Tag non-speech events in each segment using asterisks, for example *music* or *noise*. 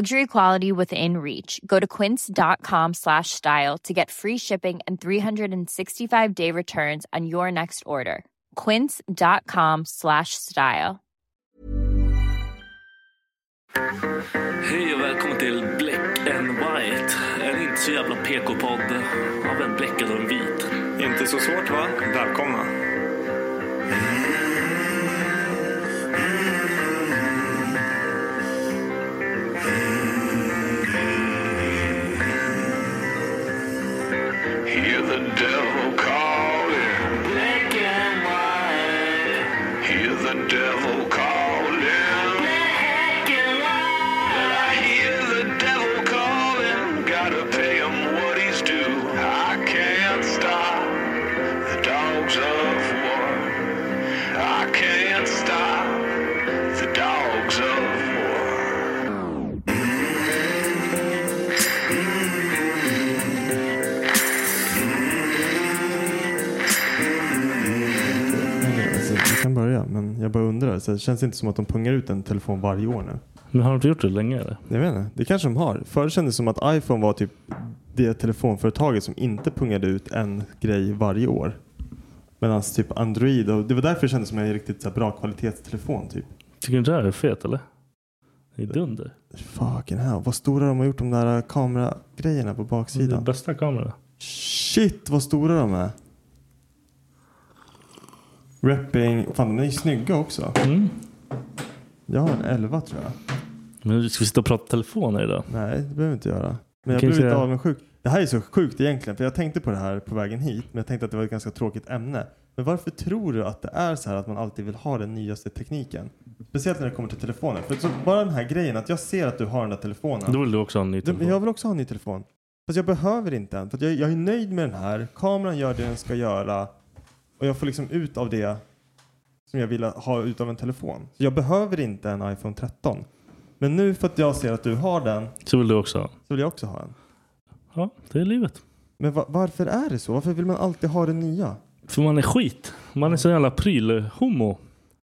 Luxury quality within reach. Go to quince.com slash style to get free shipping and 365 day returns on your next order. Quince.com slash style. Hej och välkommen till Black and White. En inte så jävla PK-podd av en bläckad och en vit. Inte så svårt va? Välkomna. Hear the devil calling. Black and white. Hear the devil calling. Black and white. I hear the devil calling. Gotta pay him what he's due. I can't stop the dogs of war. I can't stop the dogs of war. Alltså, vi kan börja, men jag bara undrar. Så det känns inte som att de pungar ut en telefon varje år nu. Men har de inte gjort det länge eller? Jag vet inte, det kanske de har. Förr kändes det som att iPhone var typ det telefonföretaget som inte pungade ut en grej varje år. Medan typ Android, och det var därför det kändes som en riktigt så här bra kvalitetstelefon. Typ. Tycker du inte det här är fet eller? Det är dunder. Fucking hell, vad stora de har gjort de där eh, kameragrejerna på Det är den baksidan. bästa kameran. Shit vad stora de är. Repping, fan de är ju snygga också. Mm. Jag har en 11 tror jag. Men ska vi sitta och prata telefoner idag? Nej, det behöver vi inte göra. Men jag kan ju blev lite säga- avundsjuk. Det här är så sjukt egentligen, för jag tänkte på det här på vägen hit, men jag tänkte att det var ett ganska tråkigt ämne. Men varför tror du att det är så här att man alltid vill ha den nyaste tekniken? Speciellt när det kommer till telefonen. För så bara den här grejen att jag ser att du har den där telefonen. Då vill du också ha en ny Du, telefon. men jag vill också ha en ny telefon. Fast jag behöver inte en. För att jag, jag är nöjd med den här. Kameran gör det den ska göra. Och jag får liksom ut av det som jag vill ha ut av en telefon. Så jag behöver inte en iPhone 13. Men nu för att jag ser att du har den Så vill du också ha. så vill jag också ha en. Ja, det är livet. Men va- varför är det så? Varför vill man alltid ha det nya? För man är skit. Man är så jävla prylhomo.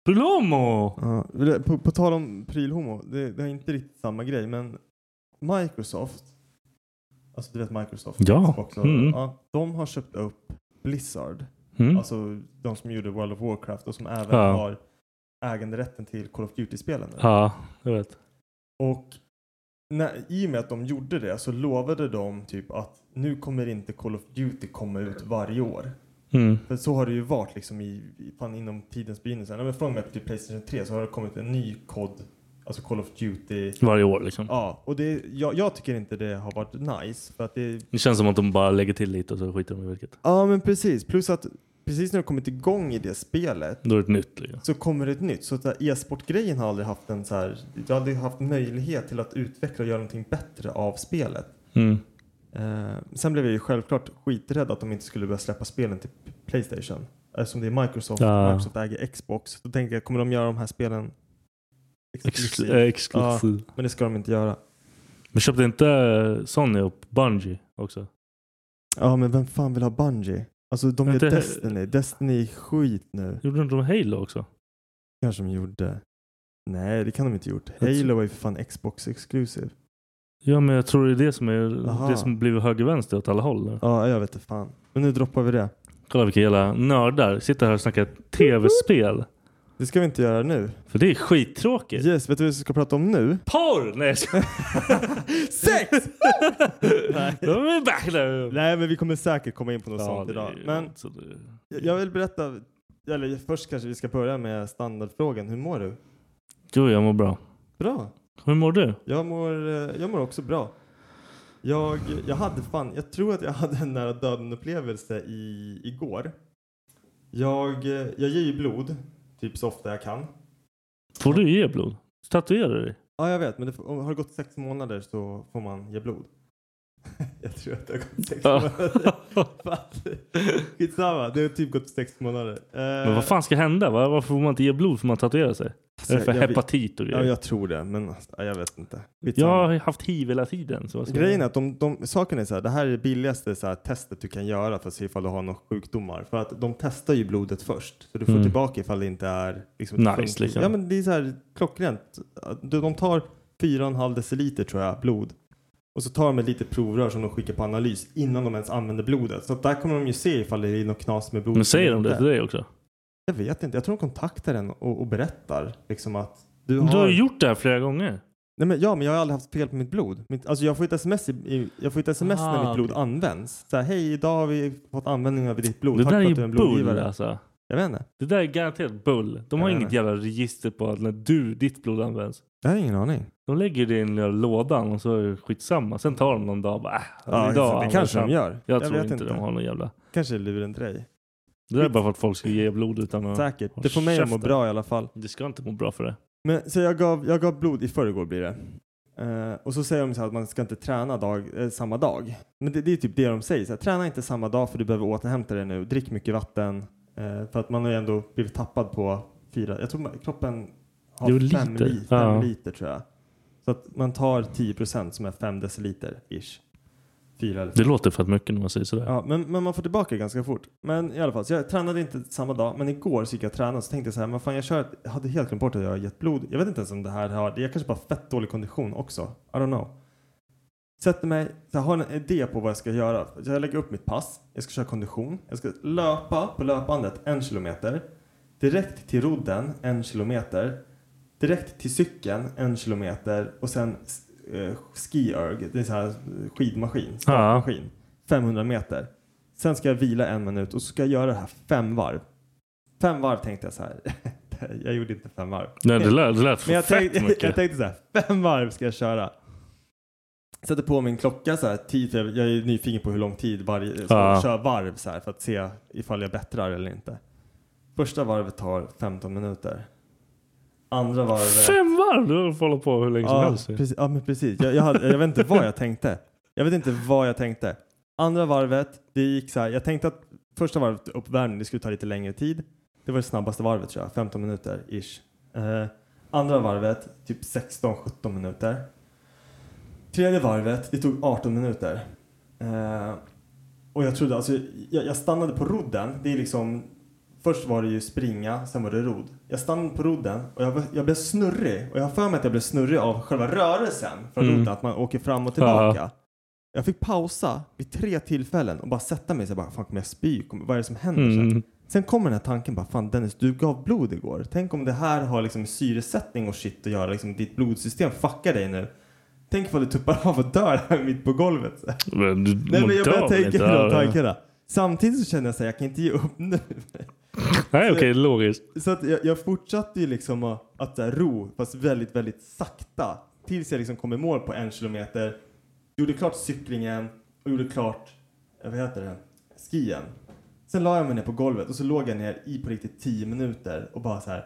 Prylhomo! Ja, det- på, på tal om prylhomo, det, det är inte riktigt samma grej, men Microsoft, alltså du vet Microsoft, Ja. Xbox och- Mm. ja, de har köpt upp Blizzard, Mm. alltså de som gjorde World of Warcraft och som även Ja. har äganderätten till Call of Duty-spelen. nu. Ja, jag vet. Och när, i och med att de gjorde det så lovade de typ att nu kommer inte Call of Duty komma ut varje år. Mm. För så har det ju varit liksom i, i, fan inom tidens begynnelse. Nej, men Från och med typ Playstation 3 så har det kommit en ny kod, alltså Call of Duty. Varje år liksom. Ja, och det, jag, jag tycker inte det har varit nice. För att det, Det känns som att de bara lägger till lite och så skiter de i vilket. ja, men precis. Plus att precis när det kommit igång i det spelet Då är det ett nytt liksom. så kommer det ett nytt. Så att där e-sportgrejen har aldrig haft en så här, jag har aldrig haft möjlighet till att utveckla och göra någonting bättre av spelet. Mm. Eh, sen blev jag ju självklart skiträdd att de inte skulle börja släppa spelen till Playstation. Eftersom det är Microsoft Ja. och Microsoft äger Xbox. Då tänker jag, kommer de göra de här spelen Exklusiv. exklusivt? exklusiv. Men det ska de inte göra. Men köpte inte eh, Sony upp Bungie också? Ja, men vem fan vill ha Bungie? Alltså de Men gör det- Destiny. Destiny är skit nu. Gjorde inte de Halo också? Kanske de gjorde. Nej, det kan de inte gjort. Jag tror- Halo är ju för fan Xbox exclusive. Ja, men jag tror det är det som är Aha. det som blivit höger-vänster åt alla håll nu. Ja, jag vet inte fan. Men nu droppar vi det. Kolla vilka jävla nördar sitter här och snackar tv-spel. Det ska vi inte göra nu. För det är skittråkigt. Yes, vet du vad vi ska prata *laughs* om nu? Porr! Nej, jag skojar. Sex! *laughs* Nej. De är back nu. *laughs* Nej, men vi kommer säkert komma in på något Ja, sånt det idag. är ju Men så det- jag- jag vill berätta, eller först kanske vi ska börja med standardfrågan. Hur mår du? Jo, jag mår bra. Bra. Hur mår du? Jag mår, eh, jag mår också bra. Jag, jag hade fan, jag tror att jag hade en nära döden upplevelse i, igår. Jag, eh, jag ger ju blod, typ så ofta jag kan. Får du ge blod? Tatuerar du dig? Ja, jag vet, men det, f- om- har det gått sex månader så får man ge blod. *laughs* jag tror att det har gått sex Ja. månader. *laughs* Fan. Skitsamma, det har typ gått sex månader. Eh, Alltså, Men vad fan ska hända? Va? Varför får man inte ge blod för man tatuerar sig? är det för jag vet- hepatit och Ja, grejer? jag tror det, men alltså, jag vet inte. jag Skitsamma. har ju haft hiv hela tiden. Så vad ska jag Grejen göra? är att de, de, saken är så här, det här är det billigaste så här, testet du kan göra för att se ifall du har några sjukdomar. För att de testar ju blodet först. Så du får Mm. tillbaka ifall det inte är... Liksom, Nice, funkis- liksom. Ja men det är så här klockrent. De, de tar 4,5 deciliter tror jag, blod. Och så tar de ett litet provrör som de skickar på analys innan de ens använder blodet. Så att där kommer de ju se ifall det är något knas med blodet. Men säger eller de inte. det till dig också? Jag vet inte. Jag tror de kontaktar den och, och berättar liksom att du Du har... har ju gjort det här flera gånger. Nej, men, ja, men jag har aldrig haft fel på mitt blod. Mitt, alltså jag får ett sms, i, i, jag får ett SMS Ah, när mitt blod okej. används. Så här, hej, idag har vi fått användning av ditt blod. Det Tack där är för att ju du är en bull blodgivare. alltså. Jag vet inte. Det där är garanterat bull. De har Jag vet inget inte. jävla register på att när du, ditt blod används. Jag har ingen aning. De lägger det i den lilla lådan och så är det skitsamma. Sen tar de någon dag och bara, äh, Ja, idag det används kanske den. de gör. Jag, tror inte, de har någon jävla... Kanske är luren till dig. Det där är bara för att folk ska ge blod utan att... Säkert. Håll Det får mig att må käften. bra i alla fall. Det ska inte må bra för det. Men, så jag gav, jag gav blod i förrgår blir det. Eh, och så säger de så här att man ska inte träna dag, eh, samma dag. Men det, det är typ det de säger. Så här, träna inte samma dag för du behöver återhämta dig nu. Drick mycket vatten. Eh, för att man har ju ändå blivit tappad på fyra. Jag tror man, kroppen har Jo, fem, liter. Li, fem Ja. liter tror jag. Så att man tar 10 procent som är fem deciliter ish. Fyra eller Det låter för att mycket när man säger sådär. Ja, men, men man får tillbaka ganska fort. Men i alla fall, så jag tränade inte samma dag. Men igår så gick jag och tränade och så tänkte jag så här, men fan jag kör, jag hade helt glömt bort att jag har gett blod. Jag vet inte ens om det här har, jag kanske bara har fett dålig kondition också. I don't know. Sätter mig, så jag har en idé på vad jag ska göra. Så jag lägger upp mitt pass, jag ska köra kondition, jag ska löpa på löpbandet en kilometer. Direkt till rodden en kilometer. Direkt till cykeln en kilometer och sen eh, skierg, det är så här eh, skidmaskin, startmaskin. 500 meter. Sen ska jag vila en minut och så ska jag göra det här fem varv. Fem varv tänkte jag så här. *laughs* jag gjorde inte fem varv. Nej, det lät, det lät för Men jag fett tänkte, *laughs* mycket. jag tänkte så här, fem varv ska jag köra. Sätter på min klocka så här, tid, för jag jag är nyfiken på hur lång tid varje, så Ja. jag kör varv så här för att se ifall jag bättrar eller inte. Första varvet tar 15 minuter. Andra varvet... Fem varv! Du får hålla på hur länge som ja, helst. Precis, ja, men precis. Jag, jag, hade, jag vet inte vad jag tänkte. Jag vet inte vad jag tänkte. Andra varvet, det gick så här. Jag tänkte att första varvet, uppvärmning, det skulle ta lite längre tid. Det var det snabbaste varvet tror jag, 15 minuter ish. Eh, andra varvet, typ 16-17 minuter. Tredje varvet, det tog 18 minuter. Eh, och jag trodde, alltså, jag, jag stannade på rodden. Det är liksom, först var det ju springa, sen var det rodd. Jag stannade på rodden och jag, var- jag blev snurrig. Och jag har för mig att jag blev snurrig av själva rörelsen från Mm. rodden, att man åker fram och tillbaka. Jag fick pausa vid tre tillfällen och bara sätta mig så jag bara, fan kommer jag spy? Kommer- Vad är det som händer? Så här. Mm. Sen kommer den här tanken bara, fan Dennis, du gav blod igår. Tänk om det här har liksom syresättning och shit att göra. Liksom, ditt blodsystem fuckar dig nu. Tänk ifall du tuppar av och dör här mitt på golvet. Men du, Nej man men jag börjar dör väl tänka inte på de av det? tankarna. Samtidigt så känner jag att jag kan inte ge upp nu. Nej okej, logiskt. Så att jag, jag fortsatte ju liksom att, att så här, ro, fast väldigt, väldigt sakta. Tills jag liksom kom i mål på en kilometer. Gjorde klart cyklingen och gjorde klart, eh, vad heter det, skien. Sen la jag mig ner på golvet och så låg jag ner i på riktigt 10 minuter och bara så här.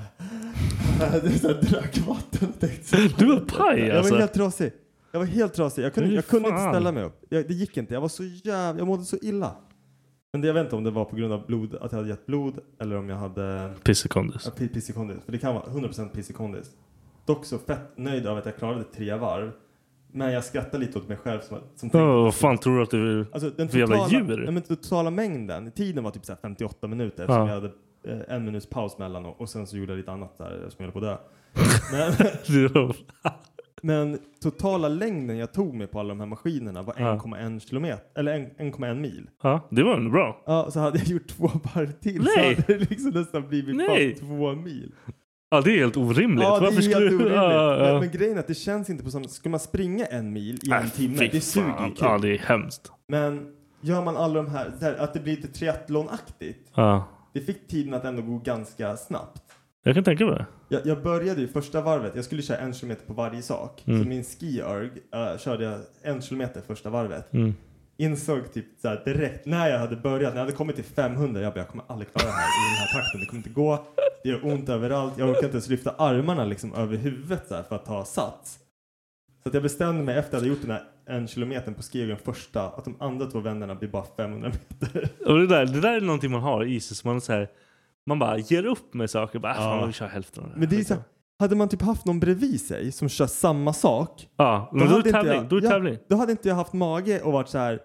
*sighs* Det är så här, drack vatten och tänkte så här, Du var paj Jag alltså. var helt trasig. Jag var helt trasig. Jag kunde, Fy jag kunde inte fan. ställa mig upp. Jag, det gick inte. Jag var så jävla... Jag mådde så illa. Men det, jag vet inte om det var på grund av blod, att jag hade gett blod eller om jag hade... Pissekondis. Ja, pi- piss i kondis. För det kan vara 100% piss i kondis. Dock så fett nöjd över att jag klarade tre varv. Men jag skrattar lite åt mig själv som, som Åh, vad fan tror du att du är Alltså den Oh, för jävla totala, djur? Nej, men totala mängden, tiden var typ så här 58 minuter eftersom Ja. jag hade eh, en minuts paus mellan och, och sen så gjorde jag lite annat där som jag höll på att *laughs* dö. Det var- Men, men totala längden jag tog mig på alla de här maskinerna var 1,1 kilometer, eller en- 1,1 mil. Ja, det var ändå bra. Ja, så hade jag gjort två varv till Nej. så hade det liksom nästan blivit Nej. bara två mil. Ja, det är helt orimligt. Ja, det är Varför helt skulle du- orimligt. Ja, ja. Men, men grejen är att det känns inte på samma Skulle man springa en mil i en Äh, timme, fy det suger ju fan. kul. Ja, det är hemskt. Men gör man alla de här, där, att det blir lite triathlonaktigt. Ja. Det fick tiden att ändå gå ganska snabbt. Jag kan tänka mig det. Jag, jag började ju första varvet, jag skulle köra en kilometer på varje sak. Mm. Så min ski-erg eh, körde jag en kilometer första varvet. Mm. Insåg typ så här direkt när jag hade börjat, när jag hade kommit till 500, jag bara jag kommer aldrig klara det här i den här takten, det kommer inte gå. Det gör ont överallt, jag orkar inte ens lyfta armarna liksom över huvudet så här för att ta sats. Så att jag bestämde mig efter att jag hade gjort den här en kilometern på skiögen första, att de andra två vänderna blir bara 500 meter. Och det, där, det där är någonting man har i sig. som Man, så här, man bara ger upp med saker. Bara, äh, Ja. fan, vi kör hälften av det här. Men det är så här, hade man typ haft någon bredvid sig som kör samma sak, Ja, men då, är hade det inte tävling. jag- Då är det ja, tävling. Då hade inte jag haft mage och varit så här.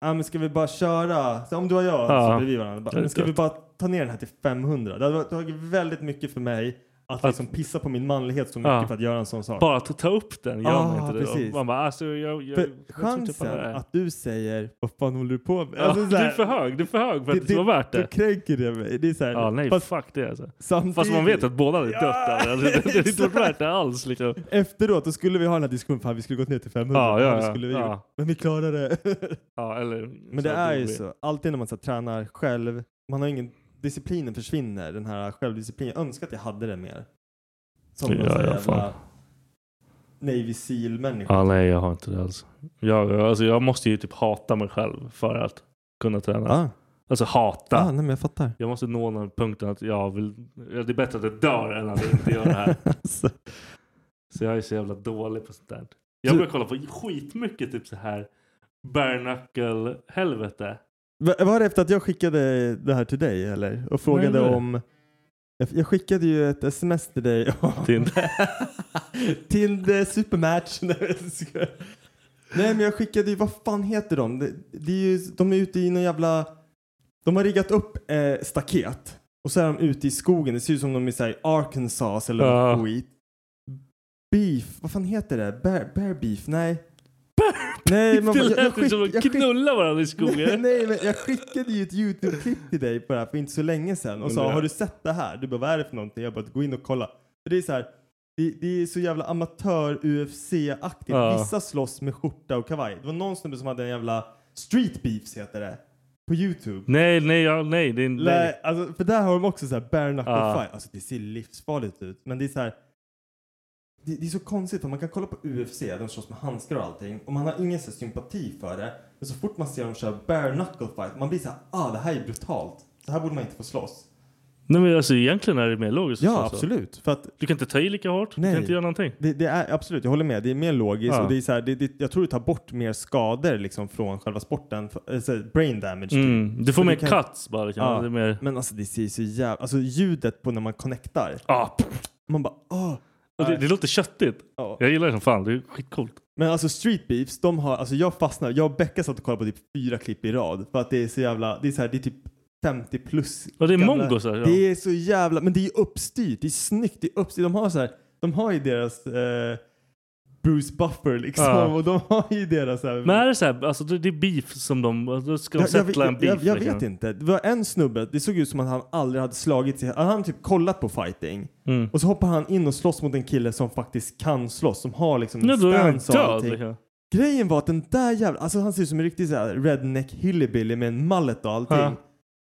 "Ja, men ska vi bara köra? Så om du och jag Ja. sitter bredvid varandra. Bara, Ja, men ska vi klart. bara ta ner den här till 500? Det hade varit- tagit väldigt mycket för mig att, liksom pissa på min manlighet så mycket Ja. för att göra en sån sak. Bara att ta upp den gör man Ah, inte. Det. precis. Och Man bara, alltså, jag, jag, för jag tror inte på det chansen här. att du säger vad fan håller du på med? Ja, Alltså, så här, du är för hög. Du är för hög för att det, ska vara värt Då det. kränker det mig. Det är så här, Ja, nej, fast fuck det alltså. samtidigt, Fast man vet att båda hade dött. där. Alltså, det hade *laughs* inte varit värt det alls. Liksom. efteråt då skulle vi ha den här diskussionen, fan vi skulle gått ner till 500. Ja, ja, det ja, skulle vi ja. gjort. Men vi klarade det. *laughs* Ja, eller, Men det är ju så. Alltid när man så här, tränar själv, man har ingen... Disciplinen försvinner, den här självdisciplinen. Jag önskar att jag hade det mer. Som Ja, någon sån ja, jävla fan. Navy Seal-människa. Ja, nej, jag har inte det alls. Jag, alltså, jag måste ju typ hata mig själv för att kunna träna. Ah, Alltså hata. ah, nej men jag fattar. Jag måste nå den punkten att jag vill, ja, det är bättre att jag dör än att jag inte gör det här. *laughs* *laughs* Så- Så jag är så jävla dålig på sånt där. Jag Du- börjar kolla på skitmycket typ så här bare knuckle helvete. Va- Var det efter att jag skickade det här till dig eller? Och frågade Nej, nej. om... Jag- Jag skickade ju ett sms till dig om... Tinder. *laughs* Tinder Supermatch. *laughs* Nej, jag skojar. Nej men jag skickade ju, vad fan heter de? Det, det är ju, de är ute i någon jävla... De har riggat upp eh, staket. Och så är de ute i skogen. Det ser ut som de är så här, i Arkansas eller Ja. något skit. Beef, vad fan heter det? Bear, bear beef? Nej. Nej, man, det jag, jag, lät ju skick, som jag, att skick, knulla varandra i nej, skogen. *laughs* nej, men jag skickade ju ett YouTube-klipp till dig på det här för inte så länge sedan och sa Mm. har du sett det här? Du bara vad är det för någonting? Jag bara gå in och kolla. För det är så här, det, det är så jävla amatör-UFC-aktigt. Ja. Vissa slåss med skjorta och kavaj. Det var någon snubbe som hade en jävla Street Beefs heter det. På YouTube. Nej, nej, ja, nej. Det är, nej. Nej, alltså, för där har de också så här bare knuckle Ja. fight. Alltså det ser livsfarligt ut. Men det är så här. Det, det är så konstigt för man kan kolla på UFC, de slåss med handskar och allting. Och man har ingen så här, sympati för det. Men så fort man ser dem köra bare knuckle fight, man blir så här, ah det här är brutalt. Så här borde man inte få slåss. nej, men alltså egentligen är det mer logiskt. att säga så. För att Du kan inte ta i lika hårt. Du Nej. kan inte göra någonting. det, det är absolut, jag håller med. Det är mer logiskt Ja. och det är så här, det, det, jag tror det tar bort mer skador liksom från själva sporten. För, eh, så här, brain damage. typ. Mm. Du får Men mer du kan- cuts bara. Kan Ja. Det är mer... Men alltså det ser ju så jävla, alltså ljudet på när man connectar. ah, pff. Man bara "Ah, åh. Och det, det låter köttigt. Ja. Jag gillar det som fan. Det är skitcoolt. Men alltså Street Beefs, de har, alltså jag fastnar, jag och Becka satt och kollade på typ fyra klipp i rad för att det är så jävla, det är så här, det är typ 50 plus. Och det är alltså. gamla- mongosar. Ja. Det är så jävla, men det är ju uppstyrt, det är snyggt, det är uppstyrt. De har så här, de har ju deras eh, Bruce Buffer liksom Ja. och de har ju deras så här, Men är det så här, alltså det det är beef som de, då ska de jag, jag, sätta en vet- beef jag, jag liksom. vet inte. Det var en snubbe, det såg ut som att han aldrig hade slagit sig. Han hade typ kollat på fighting. Mm. Och så hoppar han in och slåss mot en kille som faktiskt kan slåss. Som har liksom Nej, då är han stance och död. allting. Liksom. Grejen var att den där jävla, alltså han ser ut som en riktig så här redneck hillbilly med en mallet och allting. Ja.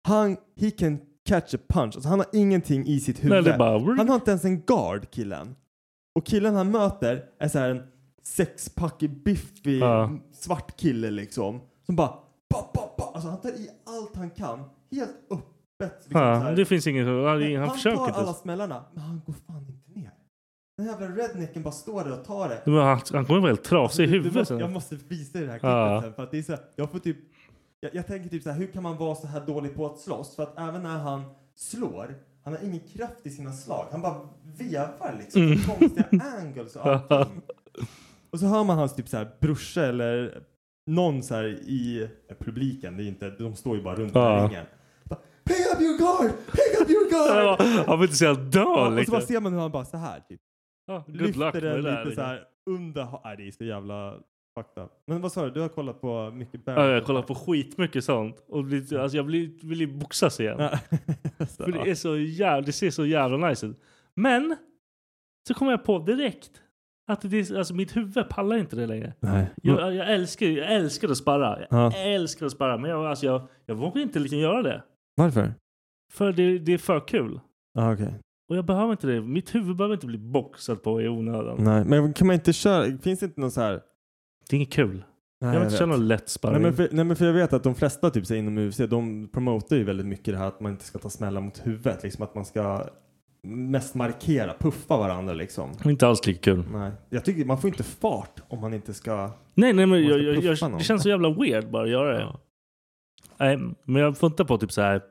Han, he can catch a punch. Alltså han har ingenting i sitt Nej, huvud. det är bara... Han har liksom inte ens en guard killen. Och killen han möter är så här en sexpack biffig Ja. svart kille liksom. Som bara pa, pa, pa. Alltså han tar i allt han kan. Helt öppet. Liksom, så Ja, här. det finns ingen... Han, Men han, han försöker tar inte. alla ens. smällarna men han går fan inte ner. Den jävla rednecken bara står där och tar det. Men han, han kommer vara helt trasig i Du- du huvudet måste, sen. Jag måste visa dig det här klippet Ja. sen. För att det är så här, jag, får typ, jag, jag tänker typ så här, hur kan man vara så här dålig på att slåss? För att även när han slår, han har ingen kraft i sina slag. Han bara vevar liksom. Mm. *laughs* så Konstiga angles och allting. Och så hör man hans typ så här brorsa eller någon så här i publiken. Det är inte, de står ju bara runt den här Ja. ringen. Bara, Pick up your guard! Pick *laughs* up your guard! Han vill inte säga dö och så bara liksom. ser man hur han bara så här typ. Ja, good luck lyfter med den det där, lite så liksom. här under... ha- Nej, det är så jävla fakta. Men vad sa du? Du har kollat på mycket Barry? Ja, jag kollar på skitmycket sånt. Och blir, alltså, jag blir, vill ju boxas igen. Ja. *laughs* För det, är så jävla, det ser så jävla nice ut. Men så kommer jag på direkt att det är, alltså, mitt huvud pallar inte det längre. Nej. Jag, jag, älskar, jag älskar att sparra. Jag Mm. Ja. älskar att sparra. Men jag, alltså, jag, jag vågar inte liksom göra det. Varför? För det, det är för kul. Ja, okej. Och jag behöver inte det. Mitt huvud behöver inte bli boxat på i onödan. Nej, men kan man inte köra? Finns det inte någon så här? Det är inget kul. Nej, jag jag vill inte vet. köra någon lätt Nej sparring. men, för, nej men för jag vet att de flesta typ så här, inom UFC de promotar ju väldigt mycket det här att man inte ska ta smällar mot huvudet. Liksom att man ska mest markera, puffa varandra liksom. Inte alls lika kul. Nej, jag tycker man får inte fart om man inte ska. Nej, nej men Man ska jag, jag, puffa jag, någon. det känns så jävla weird bara att göra det. Nej, men jag funtar på typ så här.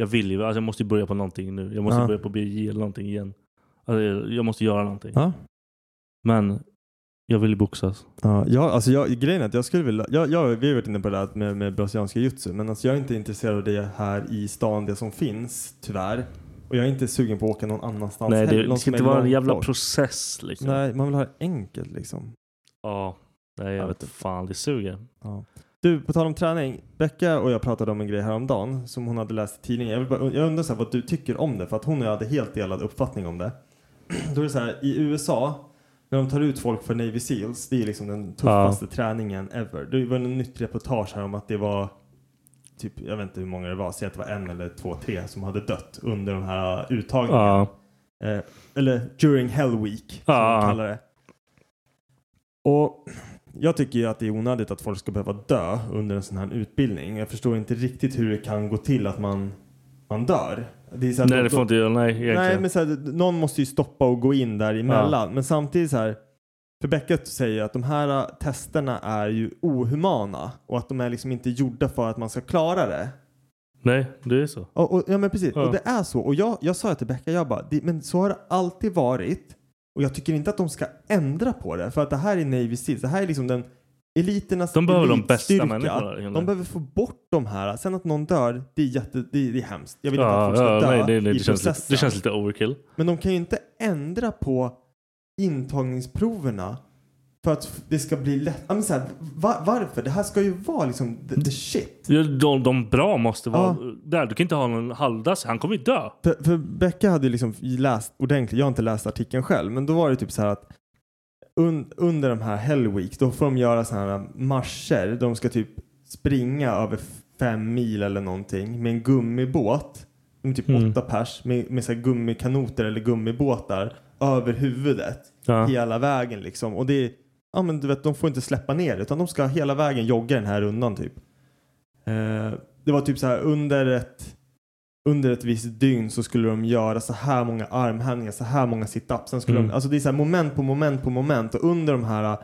Jag vill ju, alltså jag måste ju börja på någonting nu. Jag måste Ja. börja på BJ eller någonting igen. Alltså jag, jag måste göra någonting. Ja. Men jag vill ju boxas. Ja, jag, alltså jag, grejen är att jag skulle vilja, jag, jag, vi har varit inne på det här med, med brasilianska jutsu, men alltså jag är inte intresserad av det här i stan, det som finns, tyvärr. Och jag är inte sugen på att åka någon annanstans nej, heller, det, någon det ska som inte är vara en långt jävla bort. process liksom. Nej, man vill ha det enkelt liksom. Ja. Nej, jag Ja. vet fan. Det suger. Ja. Du, på tal om träning. Becka och jag pratade om en grej häromdagen som hon hade läst i tidningen. Jag, vill bara, jag undrar så här, vad du tycker om det, för att hon och jag hade helt delad uppfattning om det. *clears throat* Då är det så här, i USA, när de tar ut folk för Navy Seals, det är liksom den tuffaste träningen ever. Det var en nytt reportage här om att det var typ, jag vet inte hur många det var, säg att det var en eller två, tre som hade dött under de här uttagningarna. Ja. Eh, eller during hell week, som Ja. de kallar det. Och jag tycker ju att det är onödigt att folk ska behöva dö under en sån här utbildning. Jag förstår inte riktigt hur det kan gå till att man, man dör. Det är så här- Nej, det får inte göra. Nej, egentligen. Nej, men så här, någon måste ju stoppa och gå in däremellan. Men samtidigt så här, för Becka säger att de här äh, testerna är ju ohumana och att de är liksom inte gjorda för att man ska klara det. nej, det är så. Och, och, ja men precis, Ja. och det är så. Och jag, jag sa till Becka, jag bara, det, men så har det alltid varit. Och jag tycker inte att de ska ändra på det. För att det här är Navy Seals, det här är liksom den eliternas De behöver de bästa elitstyrka. människorna, liksom. egentligen. De behöver få bort de här. Sen att någon dör, det är, jätte, det är, det är hemskt. Jag vill inte att Ja, folk ska ja, dö nej, nej, nej, i det, känns lite, processen. det känns lite overkill. Men de kan ju inte ändra på intagningsproverna för att det ska bli lätt. Ja, men så här, va- varför? Det här ska ju vara liksom the, the shit. Ja, De, de bra måste vara Ja. där. Du kan inte ha någon halvdass. Han kommer ju dö. För, för Becka hade ju liksom läst ordentligt, jag har inte läst artikeln själv, men då var det typ så här att un, under de här Hell Week, då får de göra sådana här marscher. De ska typ springa över f- fem mil eller någonting med en gummibåt. De är typ Mm. åtta pers med, med så här gummikanoter eller gummibåtar över huvudet Ja. hela vägen liksom. Och det är, ja men du vet, de får inte släppa ner det, utan de ska hela vägen jogga den här rundan typ. Eh, det var typ så här under ett under ett visst dygn så skulle de göra så här många armhävningar, så här många situps. Sen skulle Mm. de, alltså det är så här moment på moment på moment och under de här, äh,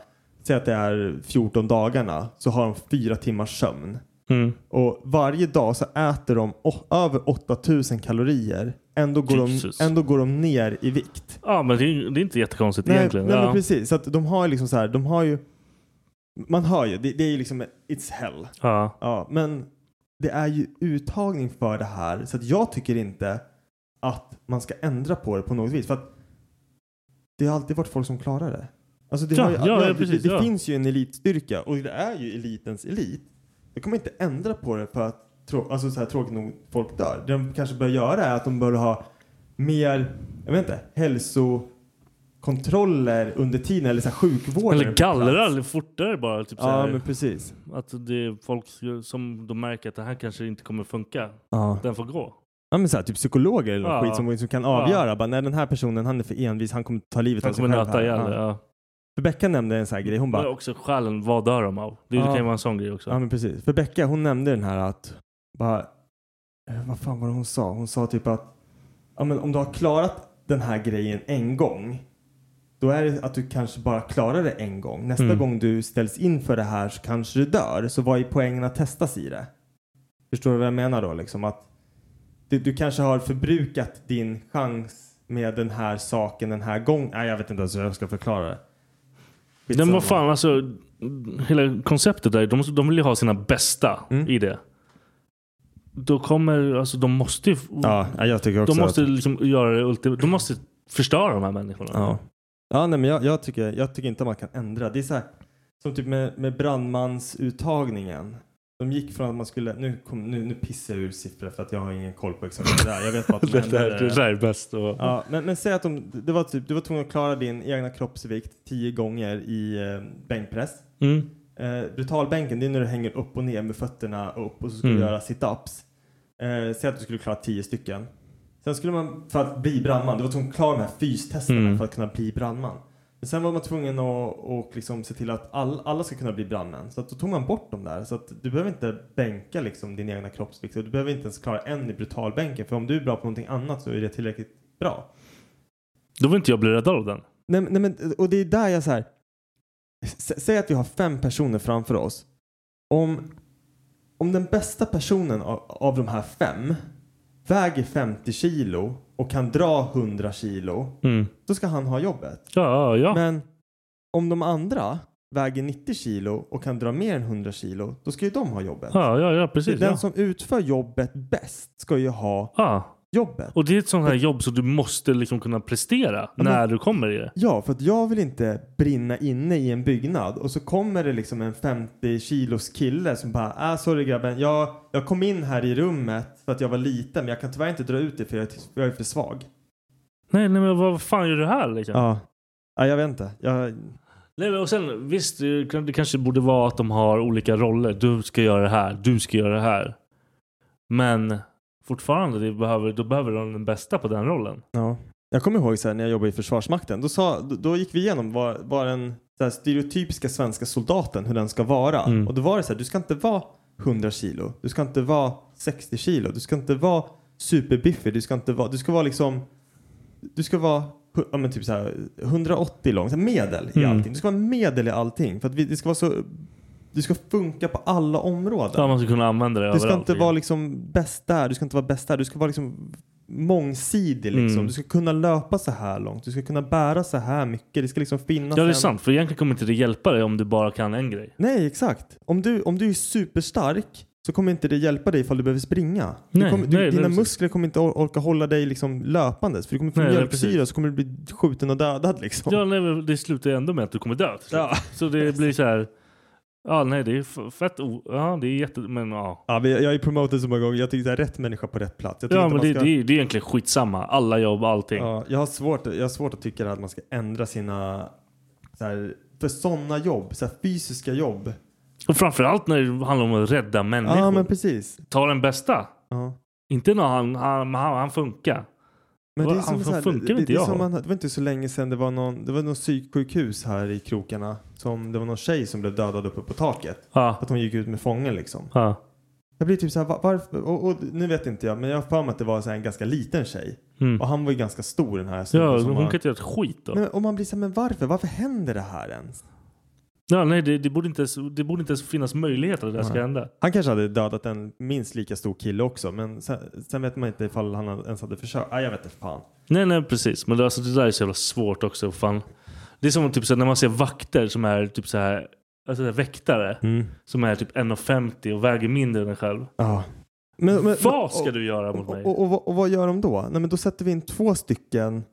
säg att det är 14 dagarna, så har de fyra timmars sömn. Mm. Och varje dag så äter de o- över 8000 kalorier. Ändå går, Jesus. de, ändå går de ner i vikt. Ja, men det, är ju- det är inte jättekonstigt Nej, egentligen. nej ja. men precis. Så att de har ju liksom så här, de har ju, man hör ju, det, det är ju liksom it's hell. Ja. Ja, men det är ju uttagning för det här så att jag tycker inte att man ska ändra på det på något vis. För att det har alltid varit folk som klarar det. Alltså det, Ja, har ju, ja, ja, det- precis, det, det ja. finns ju en elitstyrka och det är ju elitens elit. Jag kommer inte ändra på det för att trå- alltså så här, tråkigt nog folk dör. Det de kanske bör göra är att de bör ha mer, jag vet inte, hälsokontroller under tiden eller så här, sjukvården. Eller gallra lite fortare bara. Typ så Ja, här, men precis. Att det är folk som de märker att det här kanske inte kommer funka. Ja. Den får gå. Ja men så här, typ psykologer eller Ja. något skit som, som kan Ja. avgöra. Bara, nej den här personen han är för envis, han kommer ta livet Den av sig kommer själv. nöta här. ihjäl det, Ja. ja. För Becka nämnde en sån här grej, hon Men bara, också själen, vad dör de av? Det, det Ja. kan ju vara en sån grej också. ja men precis. För Becka hon nämnde den här att, bara, eh, vad fan var det hon sa? Hon sa typ att, ja men om du har klarat den här grejen en gång Då är det att du kanske bara klarar det en gång. Nästa Mm. gång du ställs inför det här så kanske du dör. Så vad är poängen att testas i det? Förstår du vad jag menar då? Liksom att du, du kanske har förbrukat din chans med den här saken den här gången. Nej, jag vet inte ens hur jag ska förklara det. Men vad fan alltså. Hela konceptet där. De, de vill ju ha sina bästa Mm. i det. Då kommer, alltså de måste ju. Ja, jag tycker också de måste att- liksom göra det ultim- De måste förstöra de här människorna. Ja. Ja, nej, men jag, jag, tycker, jag tycker inte man kan ändra. Det är så här, som typ med, med brandmansuttagningen. De gick från att man skulle, nu, kom, nu, nu pissar jag ur siffror för att jag har ingen koll på exakt det där. Jag vet bara att de *laughs* Det där- ändrade det där är bäst att- Ja, men, men säg att de, det var typ, du var tvungen att klara din egna kroppsvikt tio gånger i eh, bänkpress. Mm. Eh, brutalbänken, det är när du hänger upp och ner med fötterna upp och så ska du Mm. göra sit-ups. Eh, säg att du skulle klara tio stycken. Sen skulle man, för att bli brandman, du var tvungen att klara de här fystesterna Mm. för att kunna bli brandman. Men sen var man tvungen att och liksom se till att all, alla ska kunna bli brandmän. Så att då tog man bort dem där. Så att du behöver inte bänka liksom din egna kroppsvikt. Och du behöver inte ens klara en i brutalbänken. För om du är bra på någonting annat så är det tillräckligt bra. Då vill inte jag bli räddad av den. Nej, men- nej, men, och det är där jag så här. S- Säg att vi har fem personer framför oss. Om, om den bästa personen av, av de här fem väger 50 kilo och kan dra 100 kilo. Mm. Då ska han ha jobbet. Ja, ja. Men om de andra väger 90 kilo och kan dra mer än 100 kilo. Då ska ju de ha jobbet. Ja, ja, ja precis. Den ja. som utför jobbet bäst ska ju ha Ja. jobbet. Och det är ett sånt här jobb så du måste liksom kunna prestera men- när du kommer i det. Ja, för att jag vill inte brinna inne i en byggnad och så kommer det liksom en 50 kilos kille som bara ah, sorry grabben, jag, jag kom in här i rummet för att jag var liten men jag kan tyvärr inte dra ut det för jag är, jag är för svag. Nej, nej men vad fan gör du här liksom? Ja. ja, jag vet inte. Jag, Nej, men och sen, visst, det kan- det kanske borde vara att de har olika roller. Du ska göra det här, du ska göra det här. Men fortfarande, det behöver, då behöver de den bästa på den rollen. ja. jag kommer ihåg så här, när jag jobbade i Försvarsmakten, då, sa, då, då gick vi igenom vad, vad den så här, stereotypiska svenska soldaten, hur den ska vara. Mm. Och då var det så här, du ska inte vara 100 kilo, du ska inte vara 60 kilo, du ska inte vara superbiffig, du ska inte vara, du ska vara liksom du ska vara hu- ja, men typ så här, 180 lång, så här medel i Mm. allting. Du ska vara medel i allting. För att vi, det ska vara så, du ska funka på alla områden. Ja, man ska kunna använda det du ska överallt. inte vara liksom bäst där, du ska inte vara bäst där. Du ska vara liksom mångsidig liksom. Mm. Du ska kunna löpa så här långt. Du ska kunna bära så här mycket. Det ska liksom finnas Ja, det är en- sant. För egentligen kommer inte det hjälpa dig om du bara kan en grej. Nej, exakt. Om du, om du är superstark så kommer inte det hjälpa dig ifall du behöver springa. du Nej, kommer, du, nej, dina nej, precis. muskler kommer inte or- orka hålla dig liksom löpandes. För du kommer få Nej, nej, mjölksyra precis. så kommer du bli skjuten och dödad liksom. Ja, nej, men det slutar ju ändå med att du kommer dö till slut. Så det blir så här... Ja, nej, det är f- fett o... Ja, det är jätte... Men ja. Ja, men jag jag är promoted så många gånger. Jag tycker det är rätt människa på rätt plats. Jag tycker Ja, inte men man det, ska... det, är, det är egentligen skitsamma. Alla jobb, allting. Ja, jag, har svårt, jag har svårt att tycka det här att man ska ändra sina... Så här, för sådana jobb, så här, fysiska jobb. Och framförallt när det handlar om att rädda människor. Ja, men precis. Ta den bästa. Ja. Inte när han, han, han, han funkar. Men det, är han som så här, funkar det, inte det, är jag. som man, det var inte så länge sedan det var någon, det var någon psyksjukhus här i krokarna. Som, det var någon tjej som blev dödad uppe på taket. Ja. Att hon gick ut med fången liksom. Ja. Jag blir typ så här, va- varför? Och, och, nu vet inte jag, men jag har för mig att det var så här, en ganska liten tjej. Mm. Och han var ju ganska stor den här Ja, snubben som hon var- kan inte göra ett skit då. Nej, men, och man blir så här, men varför? Varför händer det här ens? Ja, nej, det, det, borde inte ens, det borde inte ens finnas möjlighet att det där ska Nej. hända. Han kanske hade dödat en minst lika stor kille också, men sen, sen vet man inte ifall han ens hade försökt. Ah, jag vet inte fan. Nej, nej, precis. Men det, alltså, det där är så jävla svårt också. Fan. Det är som typ, så här, när man ser vakter som är typ så här, alltså, så här, väktare Mm. som är typ 1,50 och väger mindre än en själv. Ja. Men, men, Vad ska du göra mot och, mig? och, och, vad- och vad gör de då? Nej, men då sätter vi in två stycken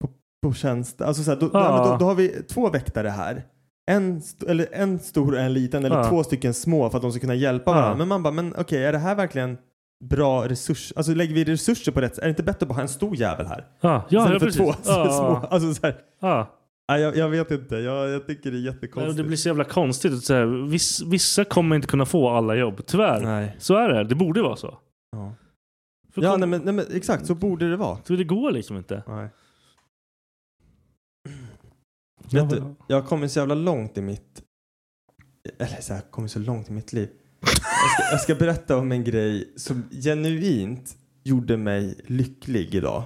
på, på tjänst. Alltså, så här, då, Ja. nej, men då, då har vi två väktare här. En, st- eller en stor och en liten eller Ja. två stycken små för att de ska kunna hjälpa Ja. varandra. Men man bara, men okej, är det här verkligen bra resurs? Alltså lägger vi resurser på rätt Är det inte bättre att bara ha en stor jävel här? Ja, ja, ja Istället för precis. två *laughs* Ja. små. Alltså, så här, Ja. Nej, jag, jag vet inte. Jag, jag tycker det är Nej, och jättekonstigt. Det blir så jävla konstigt. att Så här, viss, vissa kommer inte kunna få alla jobb, tyvärr. Nej. Så är det. Det borde vara så. Ja, För ja kom- nej, men, nej, men exakt. Så borde det vara. Så det går liksom inte. Nej. Ja, Vet du, ja. jag har kommit så jävla långt i mitt... Eller så här, jag har kommit så långt i mitt liv. Jag ska, jag ska berätta om en grej som genuint gjorde mig lycklig idag.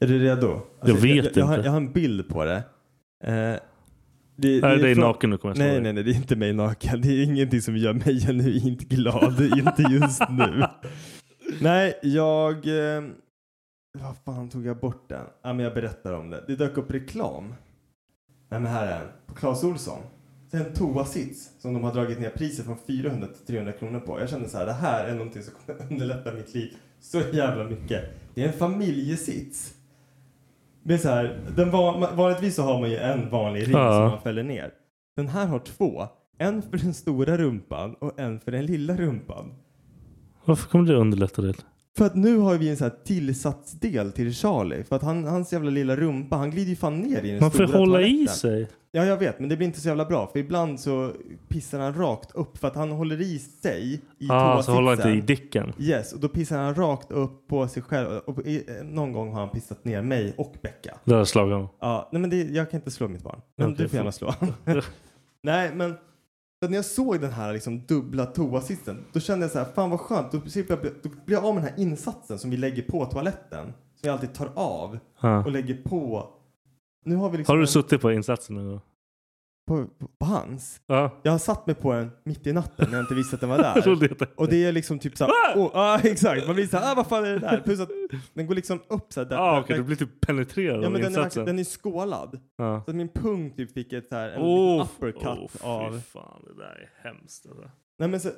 Är du redo? Alltså, Jag vet jag, jag, jag, har, inte. jag har en bild på det. Eh, det, Är det dig från- naken du kommer att slå Nej, dig? nej, nej, det är inte mig naken. Det är ingenting som gör mig *laughs* genuint glad. inte just nu. Nej, jag... Eh, vad fan tog jag bort den? Ja, men jag berättar om det. Det dök upp reklam. Nej, men här är den. På Clas Ohlson. Det är en toasits som de har dragit ner priset från 400 till 300 kronor på. Jag kände så här, det här är någonting som kommer *laughs* underlätta mitt liv så jävla mycket. Det är en familjesits. Det är så här, den van, vanligtvis så har man ju en vanlig ring Ja. som man fäller ner. Den här har två. En för den stora rumpan och en för den lilla rumpan. Varför kommer det underlätta det? För att nu har vi en så här tillsatsdel till Charlie. För att han, hans jävla lilla rumpa, han glider ju fan ner i den Man får stora hålla i toaletten. sig. Ja, jag vet, men det blir inte så jävla bra. För ibland så pissar han rakt upp för att han håller i sig i Ah, så toasitsen. hålla inte i dicken. Yes, och då pissar han rakt upp på sig själv. Och i, eh, någon gång har han pissat ner mig och Becka. Där har jag slagit honom. Ja, nej men det, jag kan inte slå mitt barn. Men Okej, du får gärna slå. *laughs* förlåt. nej, men så när jag såg den här liksom dubbla toasitsen, då kände jag så här, fan vad skönt. Då slipper jag, bli- då blir jag av med den här insatsen som vi lägger på toaletten. Som jag alltid tar av Ja. och lägger på. Nu har vi liksom Har du en, suttit på insatsen någon gång? på, på hans. Ja. Jag har satt mig på den mitt i natten när jag inte visste att den var *laughs* Jag trodde där. inte. och det är liksom typ såhär, åh, ah, *laughs* exakt. Man blir såhär, ah, vad fan är det där? Plus att den går liksom upp såhär. Där, Ah, där- okej, du där- blir typ penetrerad Ja av men den är, insatsen. verkligen- den är skålad. Ja. Så att min pung typ fick ett såhär, en Åh, liten åh, uppercut fy av. fan, det där är hemskt. Alltså. Nej men så, eh,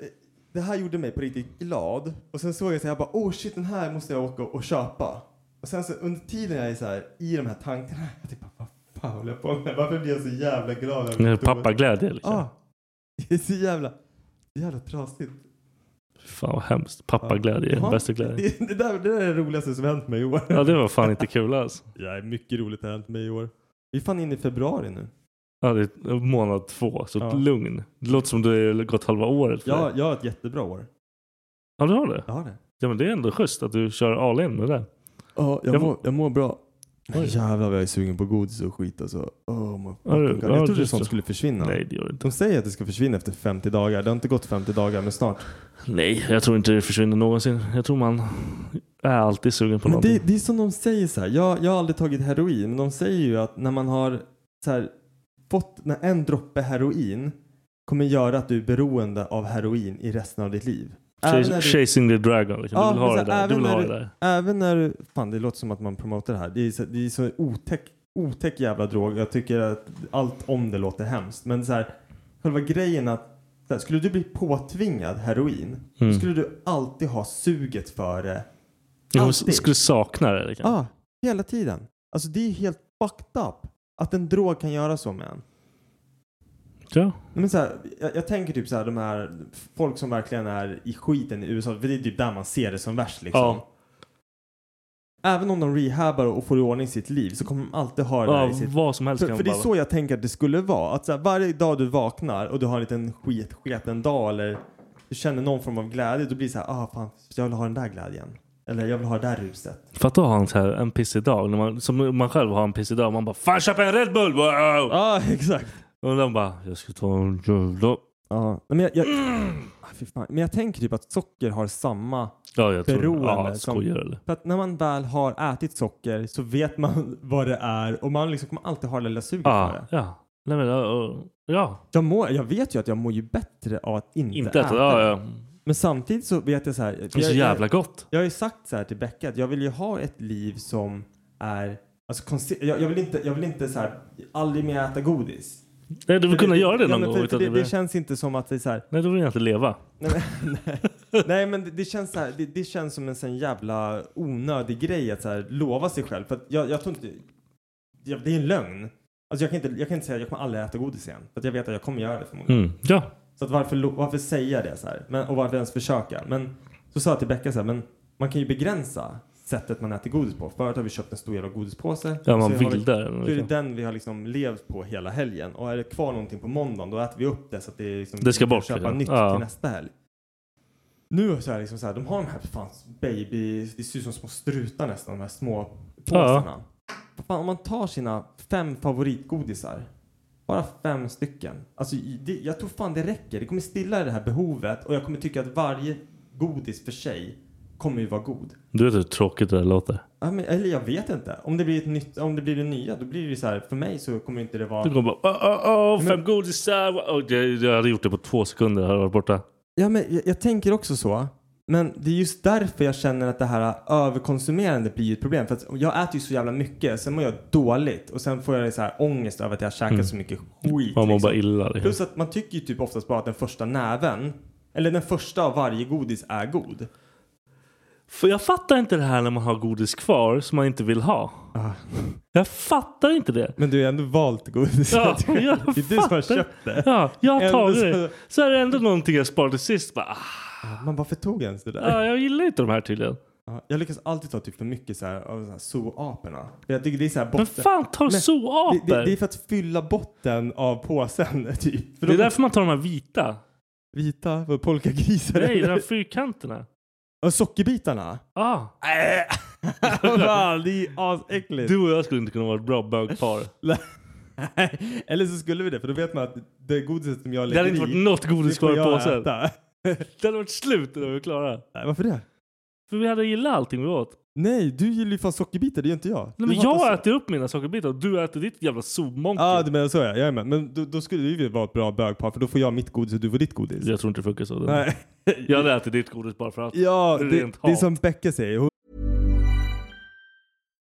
det här gjorde mig på riktigt glad. Och sen såg jag såhär, jag bara, åh oh, shit den här måste jag åka och köpa. Och sen så under tiden jag är såhär i de här tankarna, jag typ, vad fan håller jag på med? Varför blir jag så jävla glad? över Det är mitt toa- Pappaglädje liksom. Ja. *laughs* Det är så jävla, jävla trasigt. Fan vad hemskt. Pappaglädje är Ja, den bästa glädjen. *laughs* Det, det, där, det där är det roligaste som hänt mig i år. Ja det var fan inte kul alls. Ja, mycket roligt har hänt mig i år. Vi är fan inne i februari nu. Ja, det är månad två, så Ja. lugn. Det låter som du har gått halva året för Jag, dig. jag har ett jättebra år. Ja, du har det? Jag har det. Ja, men det är ändå schysst att du kör all in med det. Ja, jag, Jag mår, jag mår bra. Oj. Jävlar vad jag är sugen på godis och skit alltså. Oh, my Ja, du- fucking God. ja, jag du trodde så. sånt skulle försvinna. Nej, det gör det inte. De säger att det ska försvinna efter 50 dagar. Det har inte gått 50 dagar men snart. Nej, jag tror inte det försvinner någonsin. Jag tror man är alltid sugen på Men någonting. det, det är som de säger så här. Jag, jag har aldrig tagit heroin men de säger ju att när man har så här, fått när en droppe heroin kommer göra att du är beroende av heroin i resten av ditt liv. Även när Chas- du, Chasing the dragon liksom. Ja, du vill ha det men så här, där. Du vill även när ha det du- där. även när du, fan det låter som att man promotar det här. Det är så, det är så otäck, otäck jävla drog. Jag tycker att allt om det låter hemskt. Men så här, själva grejen att så här, skulle du bli påtvingad heroin då Mm. skulle du alltid ha suget för det Jag alltid. skulle sakna det. Liksom. Ja, hela tiden. Alltså det är helt fucked up att en drog kan göra så med en. Ja. Nej, Men så här, jag, jag tänker typ så här, de här folk som verkligen är i skiten i USA, för det är typ där man ser det som värst liksom. Ja. Även om de rehabbar och får i ordning sitt liv så kommer de alltid ha det där Ja, i sitt vad som helst för, kan för det är man så jag tänker att det skulle vara. Att så här, varje dag du vaknar och du har en liten skit, sketen dag eller du känner någon form av glädje, då blir det så här, ah fan, jag vill ha den där glädjen. Eller jag vill ha det där ruset. Fatta att ha en, så här, en pissig dag. När man, som man själv har en pissig dag. Man bara Fan köp en Red Bull! Wow! *laughs* Ja, exakt. Och de bara Jag ska ta en jävla... Ja, men jag, jag, Ah, fy fan. men jag tänker typ att socker har samma... Ja jag tror... Beroende, Ja, som- skojar eller? För att när man väl har ätit socker så vet man *laughs* vad det är och man liksom kommer alltid ha det lilla suget för Ja. det. ja. Nej, men, ja, ja. ja. Jag, mår, jag vet ju att jag mår ju bättre av att inte, Inte äta. äta. Ja, ja. Men samtidigt så vet jag så här. Det är så jag, jävla jag, gott. jag har ju sagt så här till Becka att jag vill ju ha ett liv som är... Alltså, konse- jag, jag vill inte, jag vill inte så här, aldrig mer äta godis. Nej, du vill För kunna göra det ja, någon men gång. för- för utan Det, det blir- det känns inte som att det är så här, Nej, då vill jag inte leva. Nej men, nej. *laughs* nej, men det, det känns så här, det, det känns som en sån jävla onödig grej att så här, lova sig själv. För att jag, jag tror inte... Jag, det är en lögn. Alltså jag kan inte, jag kan inte säga att jag kommer aldrig äta godis igen. För att jag vet att jag kommer göra det förmodligen. Mm. Ja. Så att varför, lo- varför säga det så här? Men, och varför ens försöka? Men så sa jag till Becka så här, men man kan ju begränsa sättet man äter godis på. Förut har vi köpt en stor jävla godispåse. Ja, man Så har vi- vill där. så är det Liksom. den vi har liksom levt på hela helgen. Och är det kvar någonting på måndagen då äter vi upp det så att det, är liksom, Det ska vi kan bort, köpa liksom. nytt Ja. till nästa helg. Nu så är det liksom så här, de har de här fan, baby, det ser ut som små strutar nästan, de här små påsarna. Vad Fan, om man tar sina fem favoritgodisar, bara fem stycken. Alltså, i- det, jag tror fan det räcker. Det kommer stilla det här behovet och jag kommer tycka att varje godis för sig kommer ju vara god. Du vet hur tråkigt det där låter. Ja, men, eller jag vet inte. Om det blir ett nytt, om det blir det nya, då blir det så här, för mig så kommer inte det vara... Du kommer bara "Ah, åh, åh, åh, fem godisar. Oh, jag, jag hade gjort det på två sekunder. Jag hade varit borta. Ja, men jag, jag tänker också så. Men det är just därför jag känner att det här överkonsumerandet blir ett problem. För att jag äter ju så jävla mycket, sen mår jag dåligt och sen får jag så här ångest över att jag har käkat Mm. så mycket skit. Man mår liksom. bara illa. Liksom. Plus att man tycker ju typ oftast bara att den första näven, eller den första av varje godis är god. För jag fattar inte det här när man har godis kvar som man inte vill ha. Ah. Jag fattar inte det. Men du har ändå valt godis. Ja, *laughs* det jag är du som har fattar. köpt det. Ja, jag har Ändå tagit så- det. Så är det ändå någonting jag sparade sist. Bara, ah, Man varför tog jag ens det där? ja, jag gillar inte de här tydligen. Ja, Jag lyckas alltid ta typ för mycket så här, av så här zooaporna. För Jag tycker det är så här Men botten. fan tar Men zooapor? det, det, det är för att fylla botten av påsen *laughs* typ. För Det är de därför man tar de här *laughs* vita. vita vad, polkagrisar. Nej, de eller? här *laughs* fyrkanterna. *laughs* Ja, Sockerbitarna? Ah. Fan, det är asäckligt. Du och jag skulle inte kunna vara ett bra bögpar. *laughs* Nej, Eller så skulle vi det, för då vet man att det godiset som jag Det lägger hade inte i, varit något godis det får kvar i jag påsen. äta. Det hade varit slut när vi var klara. Nej, varför det? För vi hade gillat allting vi åt. Nej, du gillar ju fan sockerbitar, det gör inte jag. Nej, Du men hatar jag socker- äter upp mina sockerbitar och du äter ditt jävla zoommonke. Ja, du menar så ja. Jajamän. Men då, då skulle du ju vara ett bra bögpar, för då får jag mitt godis och du får ditt godis. Jag tror inte det funkar så. Nej. Jag hade ätit ditt godis bara för att. Ja, Det är det, rent det är hat. som Becka säger. Hon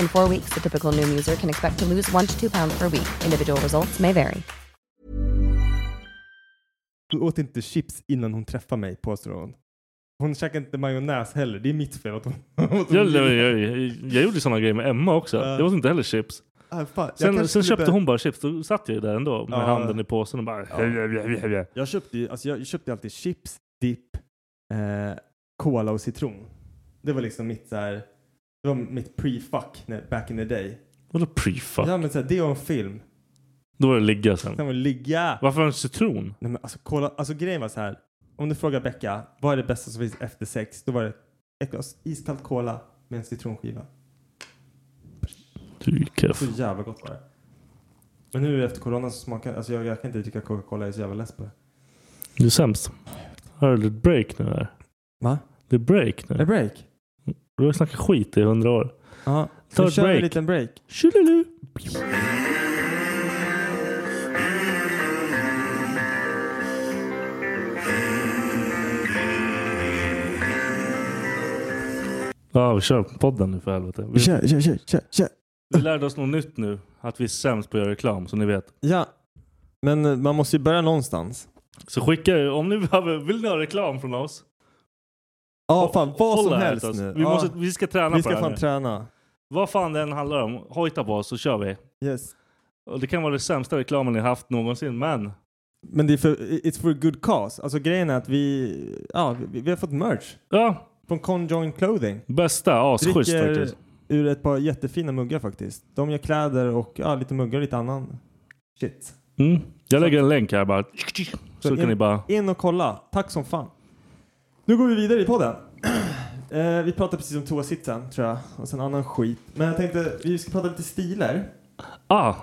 In four weeks, the typical Noom user can expect to lose one to two pounds per week. Individual results may vary. åt inte chips innan hon träffade mig, påstår hon. Hon käkade inte majonnäs heller. Det är mitt fel att hon... *laughs* att hon Jag, jag, jag, jag gjorde sådana grejer med Emma också. Ja. Jag åt inte heller chips. Ah, fan, jag Sen, kanske sen skulle köpte börja- hon bara chips. Då satt jag ju där ändå med Ja. handen i påsen och bara... Ja. Jag köpte ju alltså jag köpte alltid chips, dipp, eh, cola och citron. Det var liksom mitt så här, det var mitt pre-fuck när- back in the day. Vadå prefuck? Ja men så här, det var en film. Då var det ligga sen. Sen var det ligga. Varför har du en citron? Nej men alltså cola, alltså grejen var så här. Om du frågar Becka, vad är det bästa som finns efter sex? Då var det ett glas iskallt cola med en citronskiva. Du är ju keff. Så jävla gott var det. Men nu efter corona så smakar, alltså jag, jag kan inte dricka Coca-Cola, jag är så jävla less på det. Du är sämst. Hör du det är ett break nu här? Va? Det är break nu. A break? Du har snackat skit i hundra år. Ja. Ta Då ett kör vi en break. liten break. Tjolilu! Ja, vi kör podden nu för helvete. Vi, Kör, kör, kör, kör, kör. vi lärde oss något nytt nu. Att vi är sämst på att göra reklam, som ni vet. Ja. Men eh, man måste ju börja någonstans. Så skicka, om ni behöver, vill ni ha reklam från oss? Ja, Ho- fan vad håll som här helst åt oss. nu. Vi, Ja, måste, vi ska träna vi på det ska här fan nu. träna. Vad fan den handlar om, hojta på oss så kör vi. Yes. Och det kan vara den sämsta reklamen ni haft någonsin, men Men det är för, it's for a good cause. Alltså grejen är att vi, ja, vi, vi har fått merch ja, från Conjoint Clothing. bästa, asschysst Dricker faktiskt. ur ett par jättefina muggar faktiskt. De gör kläder och ja, lite muggar och lite annan shit. Mm. Jag lägger en länk här bara. Så, Så kan in- ni bara... In och kolla. Tack som fan. Nu går vi vidare i podden. *clears throat* Eh, vi pratade precis om toasitsen tror jag och sen annan skit. Men jag tänkte vi ska prata lite stiler. Ah!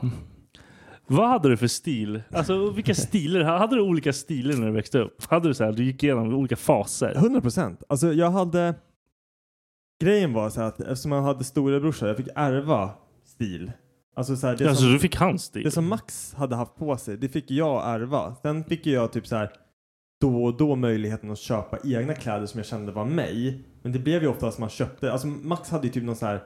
Vad hade du för stil? Alltså vilka stiler? Hade du olika stiler när du växte upp? Hade du så här, du gick igenom olika faser? 100 procent. Alltså jag hade... Grejen var så här att eftersom jag hade storebrorsa, jag fick ärva stil. Alltså så här, det, Alltså som, du fick hans stil? det som Max hade haft på sig, det fick jag ärva. Sen fick ju jag typ så här då och då möjligheten att köpa egna kläder som jag kände var mig. Men det blev ju ofta att man köpte, alltså Max hade ju typ någon så här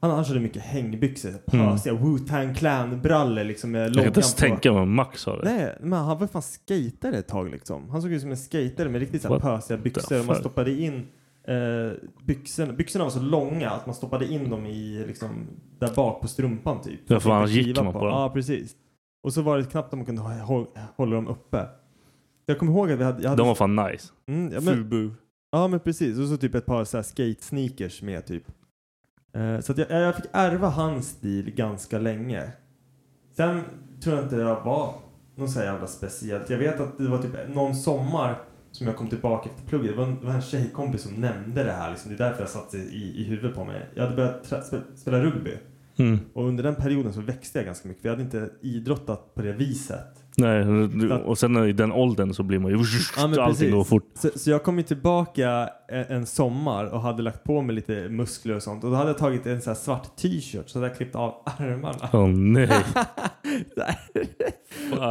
Han, han körde mycket hängbyxor, pösiga Wu-Tang Clan-brallor liksom med Mm. Jag kan inte ens tänka mig vad Max har det. Nej, men han var fan skatare ett tag liksom. Han såg ut som en skatare med riktigt så här What pösiga byxor. the Och man fuck? stoppade in eh, byxorna. Byxorna var så långa att man stoppade in dem i liksom där bak på strumpan typ. Ja, för annars Fick gick kliva man på dem. Ja, precis. Och så var det knappt att man kunde hå- hå- hålla dem uppe. Jag kommer ihåg att vi hade... Jag hade De var fan nice. Mm, ja, men, Fubu. Ja men precis, och så typ ett par så här skate sneakers med typ. Eh, så att jag, jag fick ärva hans stil ganska länge. Sen tror jag inte jag var någon så här jävla speciellt. Jag vet att det var typ någon sommar som jag kom tillbaka efter plugget. Det var en, det var en tjejkompis som nämnde det här liksom. Det är därför jag satt i, i, i huvudet på mig. Jag hade börjat tra- spe- spela rugby. Mm. Och under den perioden så växte jag ganska mycket. Vi hade inte idrottat på det viset. Nej, och sen i den åldern så blir man ju... Ja, men allting precis. går fort. Så, så jag kom ju tillbaka en, en sommar och hade lagt på mig lite muskler och sånt. Och då hade jag tagit en sån här svart t-shirt så hade jag klippt av armarna. *laughs* Åh nej.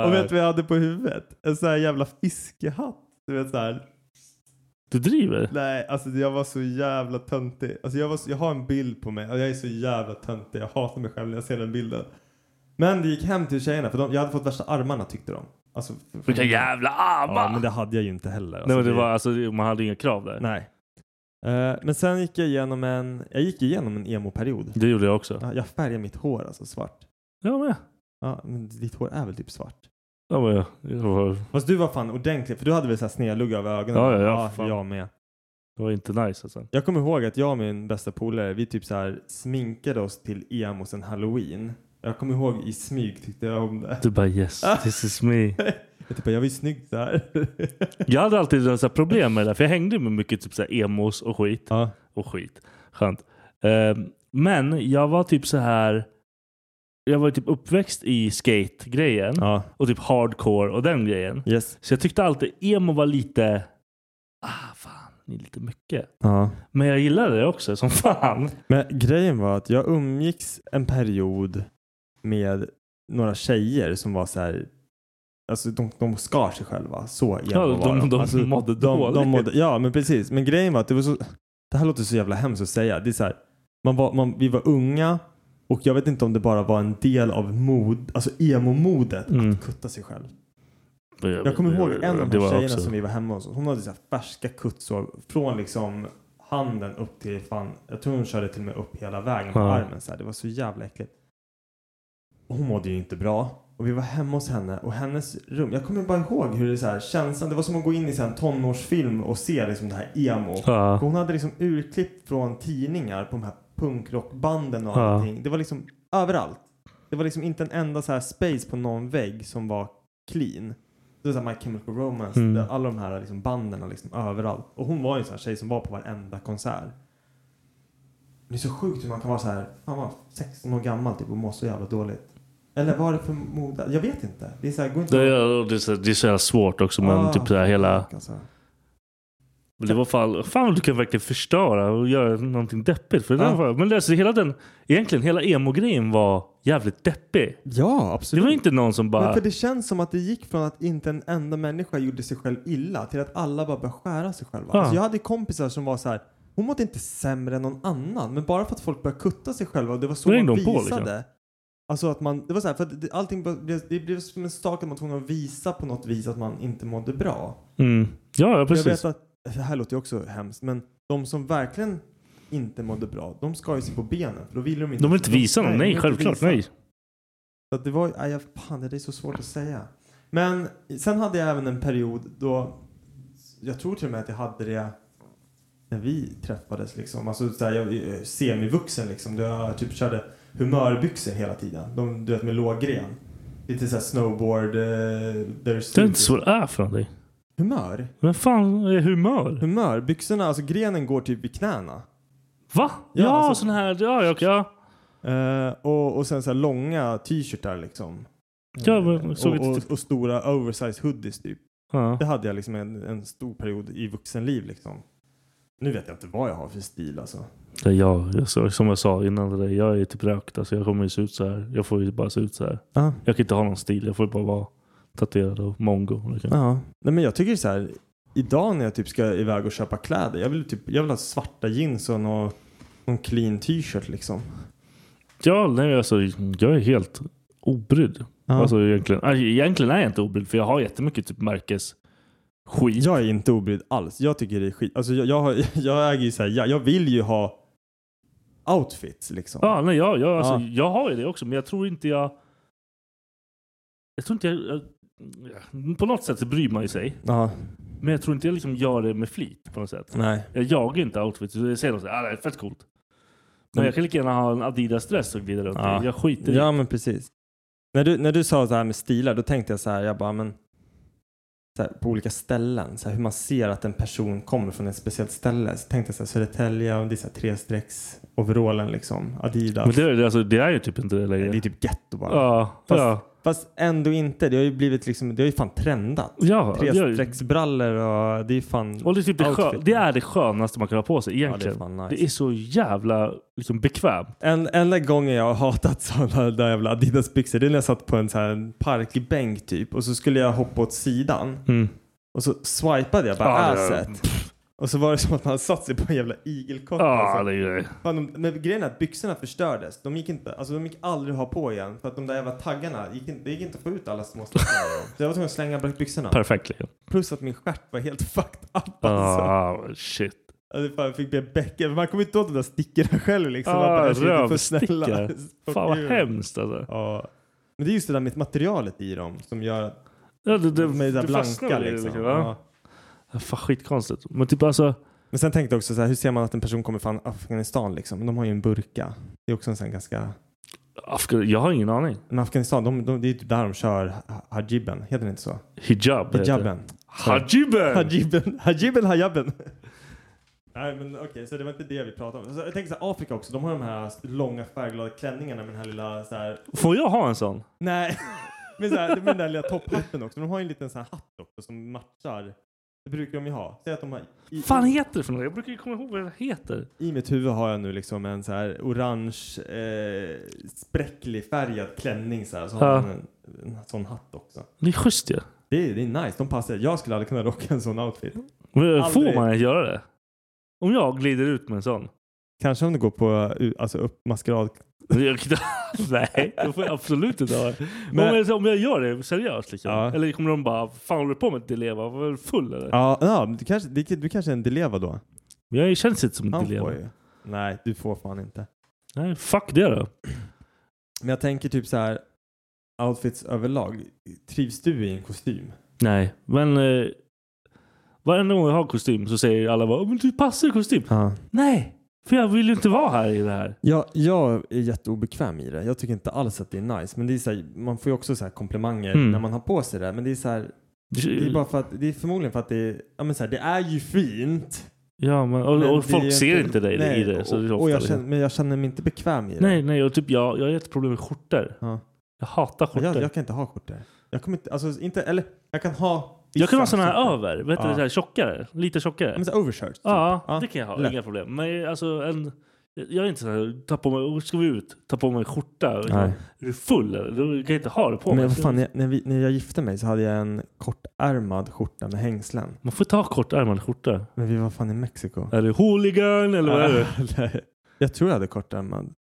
och vet du vad jag hade på huvudet? En sån här jävla fiskehatt. Du vet så här. Du driver? Nej, alltså jag var så jävla töntig. Alltså jag, var så, jag har en bild på mig och jag är så jävla töntig. Jag hatar mig själv när jag ser den bilden. Men det gick hem till tjejerna för de, jag hade fått värsta armarna tyckte de. Alltså, för- Vilka jävla armar! Ja, men det hade jag ju inte heller. nej, Alltså, men det det- var, alltså, det- man hade inga krav där. Nej. Eh, men sen gick jag igenom en, jag gick igenom en emo-period. Det gjorde jag också. Ja, Jag färgade mitt hår alltså svart. Jag med. Ja, men ditt hår är väl typ svart? Jag var, jag var, Fast du var fan ordentlig, för du hade väl såhär snedlugga över ögonen? Ja, ja, ja, fan. jag med. det var inte nice alltså. Jag kommer ihåg att jag och min bästa polare, vi typ så här sminkade oss till emo sen halloween. Jag kommer ihåg i smyg tyckte jag om det. Du bara yes, this is me. Jag typ bara, jag var ju snygg där. *laughs* Jag hade alltid en sån här problem med det där, för jag hängde med mycket typ så här emos och skit. Ja. Och skit. Skönt. Ehm, men jag var typ så här... Jag var typ uppväxt i skate-grejen ja. och typ hardcore och den grejen. Yes. Så jag tyckte alltid emo var lite... Ah, fan, det är lite mycket. Ja. Men jag gillade det också som fan. Men grejen var att jag umgicks en period med några tjejer som var så här. Alltså de, de skar sig själva. Så emo Ja, var de- de alltså, mådde dåligt. mådde, ja men precis. Men grejen var att det var så. Det här låter så jävla hemskt att säga. Det är så här. Man var, man, vi var unga. Och jag vet inte om det bara var en del av mod, alltså emo-modet Mm. att kutta sig själv. Jag kommer ihåg en av de här tjejerna som vi var hemma hos. Hon hade så här färska kuttsår från liksom handen upp till fan. Jag tror hon körde till och med upp hela vägen på Ja. armen. Så här. Det var så jävla äckligt. Och Hon mådde ju inte bra. Och vi var hemma hos henne och hennes rum. Jag kommer bara ihåg hur det så här känslan. Det var som att gå in i så här en tonårsfilm och se liksom det här emo. Ja. Hon hade liksom urklipp från tidningar på de här punkrockbanden och Ja. allting. Det var liksom överallt. Det var liksom inte en enda så här space på någon vägg som var clean. Det var så här My Chemical Romance, Mm. där alla de här liksom banden var liksom överallt. Och hon var ju en sån här tjej som var på varenda konsert. Det är så sjukt hur man kan vara så här, fan var 16 år gammal typ och må så jävla dåligt. Eller vad är det för mode? Jag vet inte. Det är så här, går inte Det är, det är så- det är så jävla svårt också. Men Ah, typ så här hela... fuck, alltså. Men det var fan, fan vad du kan verkligen förstöra och göra någonting deppigt. För det Ja. där var, men alltså, hela den, egentligen hela emo-grejen var jävligt deppig. Ja, Det absolut. var inte någon som Men bara... för det känns som att det gick från att inte en enda människa gjorde sig själv illa till att alla bara började skära sig själva. Ja. Alltså jag hade kompisar som var så här. Hon mådde inte sämre än någon annan, men bara för att folk började kutta sig själva och det var så Då man ringde visade. de på, liksom. Alltså att man, det var så här, för att det, allting bara blev, det blev som en sak att man var tvungen att visa på något vis att man inte mådde bra. Mm. Ja, ja, precis. Jag vet att, det här låter ju också hemskt, men de som verkligen inte mådde bra, de skar ju sig på benen. För då ville de inte... De vill inte visa någon. de vill Nej, inte självklart. visa. Nej. Så att det var, aj, jag- fan det är så svårt att säga. Men sen hade jag även en period då, jag tror till och med att jag hade det när vi träffades liksom. Alltså så här, jag, eh, semivuxen liksom. Då jag typ körde humörbyxor hela tiden. De, du vet med låg gren. Lite såhär snowboard, uh, Det är inte så det är för någonting. Humör? Men fan är humör? Humör? Byxorna, alltså grenen går typ vid knäna. Va? Ja, Ja, alltså- sån här... Ja, ja, okej, ja. Eh, och, och sen så här långa t-shirtar liksom. Ja, men Eh, såg och, ett- och, och stora oversized hoodies typ. ja. Det hade jag liksom en, en stor period i vuxenliv liksom. Nu vet jag inte vad jag har för stil alltså. Det är jag, alltså, som jag sa innan, det där, jag är typ rökt. Alltså, jag kommer ju se ut så här. Jag får ju bara se ut så här. Ja. Jag kan inte ha någon stil. Jag får ju bara vara tatuerad och mongo. Liksom. Ja. Nej men jag tycker så här. Idag när jag typ ska iväg och köpa kläder. Jag vill, typ, jag vill ha svarta jeans och nå- någon clean t-shirt liksom. Ja, nej, alltså, jag är helt obrydd. Ja. Alltså, egentligen, alltså, egentligen är jag inte obrydd för jag har jättemycket typ märkes. Skit. Jag är inte obrydd alls. Jag tycker det är skit. Alltså jag, jag, har- *laughs* jag äger ju så här, jag, jag vill ju ha outfits liksom. Ja, nej, jag, jag, alltså, Ja. jag har ju det också men jag tror inte jag... Jag tror inte jag... jag på något sätt så bryr man ju sig. Ja. Men jag tror inte jag liksom gör det med flit på något sätt. Nej. Jag jagar ju inte outfits. Jag säger något så här, ah, det här är fett coolt. Men Mm. jag kan lika gärna ha en Adidas-dress och glida runt Ja. i. Jag skiter i Ja men precis. När du, när du sa så här med stilar då tänkte jag så här, jag bara men så här, på olika ställen, så här, hur man ser att en person kommer från ett speciellt ställe. Så tänkte jag så här, Södertälje, och det är så här trestrecks overallen liksom, Adidas. Men det, är- alltså, det är ju typ inte det längre. Det är typ getto bara. Ja, Fast, ja. fast ändå inte. Det har ju blivit liksom, det har ju fan trendat. Ja, det gör ju- Trestrecksbrallor och det är fan Och det är, typ det, skö- outfit. det är det skönaste man kan ha på sig Ja, det är egentligen. fan det, är nice. så jävla liksom, bekvämt. En, enda gången jag har hatat sådana där jävla Adidas-byxor det är när jag satt på en sån här parkbänk typ och så skulle jag hoppa åt sidan Mm. och så swipade jag bara Ja, det- asset. Och så var det som att man satt sig på en jävla igelkott. Ja, alltså. Ah, det är ju det. Fan, de, men grejen är att byxorna förstördes. De gick, inte, alltså, de gick aldrig att ha på igen för att de där jävla taggarna, gick inte, det gick inte att få ut alla *laughs* små stackar. Så jag var tvungen att slänga bort byxorna. Perfekt. liksom. Plus att min stjärt var helt *laughs* fucked up alltså. Ah, shit. Alltså fan, jag fick be bäcken. Man kommer inte åt de där stickorna själv liksom. Man bara, Ah, "Jag ska inte få snälla." Rövsticka. *laughs* Fan vad Kul. hemskt alltså. Ja. Men det är just det där med materialet i dem som gör att Ja, det, det, de är där det fastnar blanka i det, liksom. va? Ja. Ja, Fan skitkonstigt. Men typ alltså. Men sen tänkte jag också så här, hur ser man att en person kommer från Afghanistan liksom? De har ju en burka. Det är också en sån ganska... Afga- jag har ingen aning. Men Afghanistan, de, de, det är ju typ där de kör ha- hajiben. Heter det inte så? Hijab heter det. Hijaben. Hajiben! Hajiben. Hajiben hajaben. Nej men okej, så det var inte det vi pratade om. Så jag tänker så här, Afrika också, de har de här långa färgglada klänningarna med den här lilla så här, Får jag ha en sån? Nej. *laughs* Men så här, med den där lilla topphatten också. De har ju en liten sån här hatt också som matchar. Det brukar de ju ha. Säg att de har... I, fan heter det för något? Jag brukar ju komma ihåg vad det heter. I mitt huvud har jag nu liksom en så här orange eh, spräcklig färgad klänning så här. Så Ja. har de en, en sån hatt också. Det är schysst ju. Det är, det är nice. De passar. Jag skulle aldrig kunna rocka en sån outfit. Men Får Aldrig. man ens göra det? Om jag glider ut med en sån? Kanske om du går på uh, alltså upp maskerad. Jag- *laughs* Nej, det får jag absolut inte ha. Men- Om, jag, om jag gör det seriöst liksom. Ja. Eller kommer de bara, fan håller du på med att leva? Var du full eller? Ja, ja men du, kanske, du, du kanske är en Dileva då? Jag känns inte som Han att leva. får ju. Nej, du får fan inte. Nej, fuck det då. Men jag tänker typ så här outfits överlag. Trivs du i en kostym? Nej, men eh, varenda gång jag har kostym så säger alla bara, men du passar i kostym. Ja. Nej, för jag vill ju inte vara här i det här. Jag, jag är jätteobekväm i det. Jag tycker inte alls att det är nice. Men det är så här, man får ju också så här komplimanger Mm. när man har på sig det. Men det är, så här, det är, bara för att, det är förmodligen för att det är, ja, men så här, det är ju fint. Ja, men, och, men och det folk är ju ser inte dig nej, i det. Så det är och, ofta, och jag liksom. känner, men jag känner mig inte bekväm i det. Nej, nej. Och typ jag, jag har ett problem med skjortor. Ja. Jag hatar skjortor. Jag, Jag, jag kan inte ha skjortor. Jag kommer inte, alltså inte, eller jag kan ha kan ha vissa sådana här skjortor. över. Vet du, Ja. så här tjockare. Lite tjockare. Ja, Men så här overshirts. typ. ja, det kan jag ha. lätt. Inga problem. Men alltså en... Jag är inte såhär, ta på mig, "Oh, ska vi ut? Ta på mig en skjorta. Nej. Är du full eller? Då kan jag inte ha det på Men mig. vad fan, jag, när, vi, när jag gifte mig så hade jag en kortärmad skorta med hängslen. Man får ta kortärmad skjorta. Men vi var fan i Mexiko. Är du hooligan eller vad är det? *laughs* Nej. jag tror jag hade kortärmad.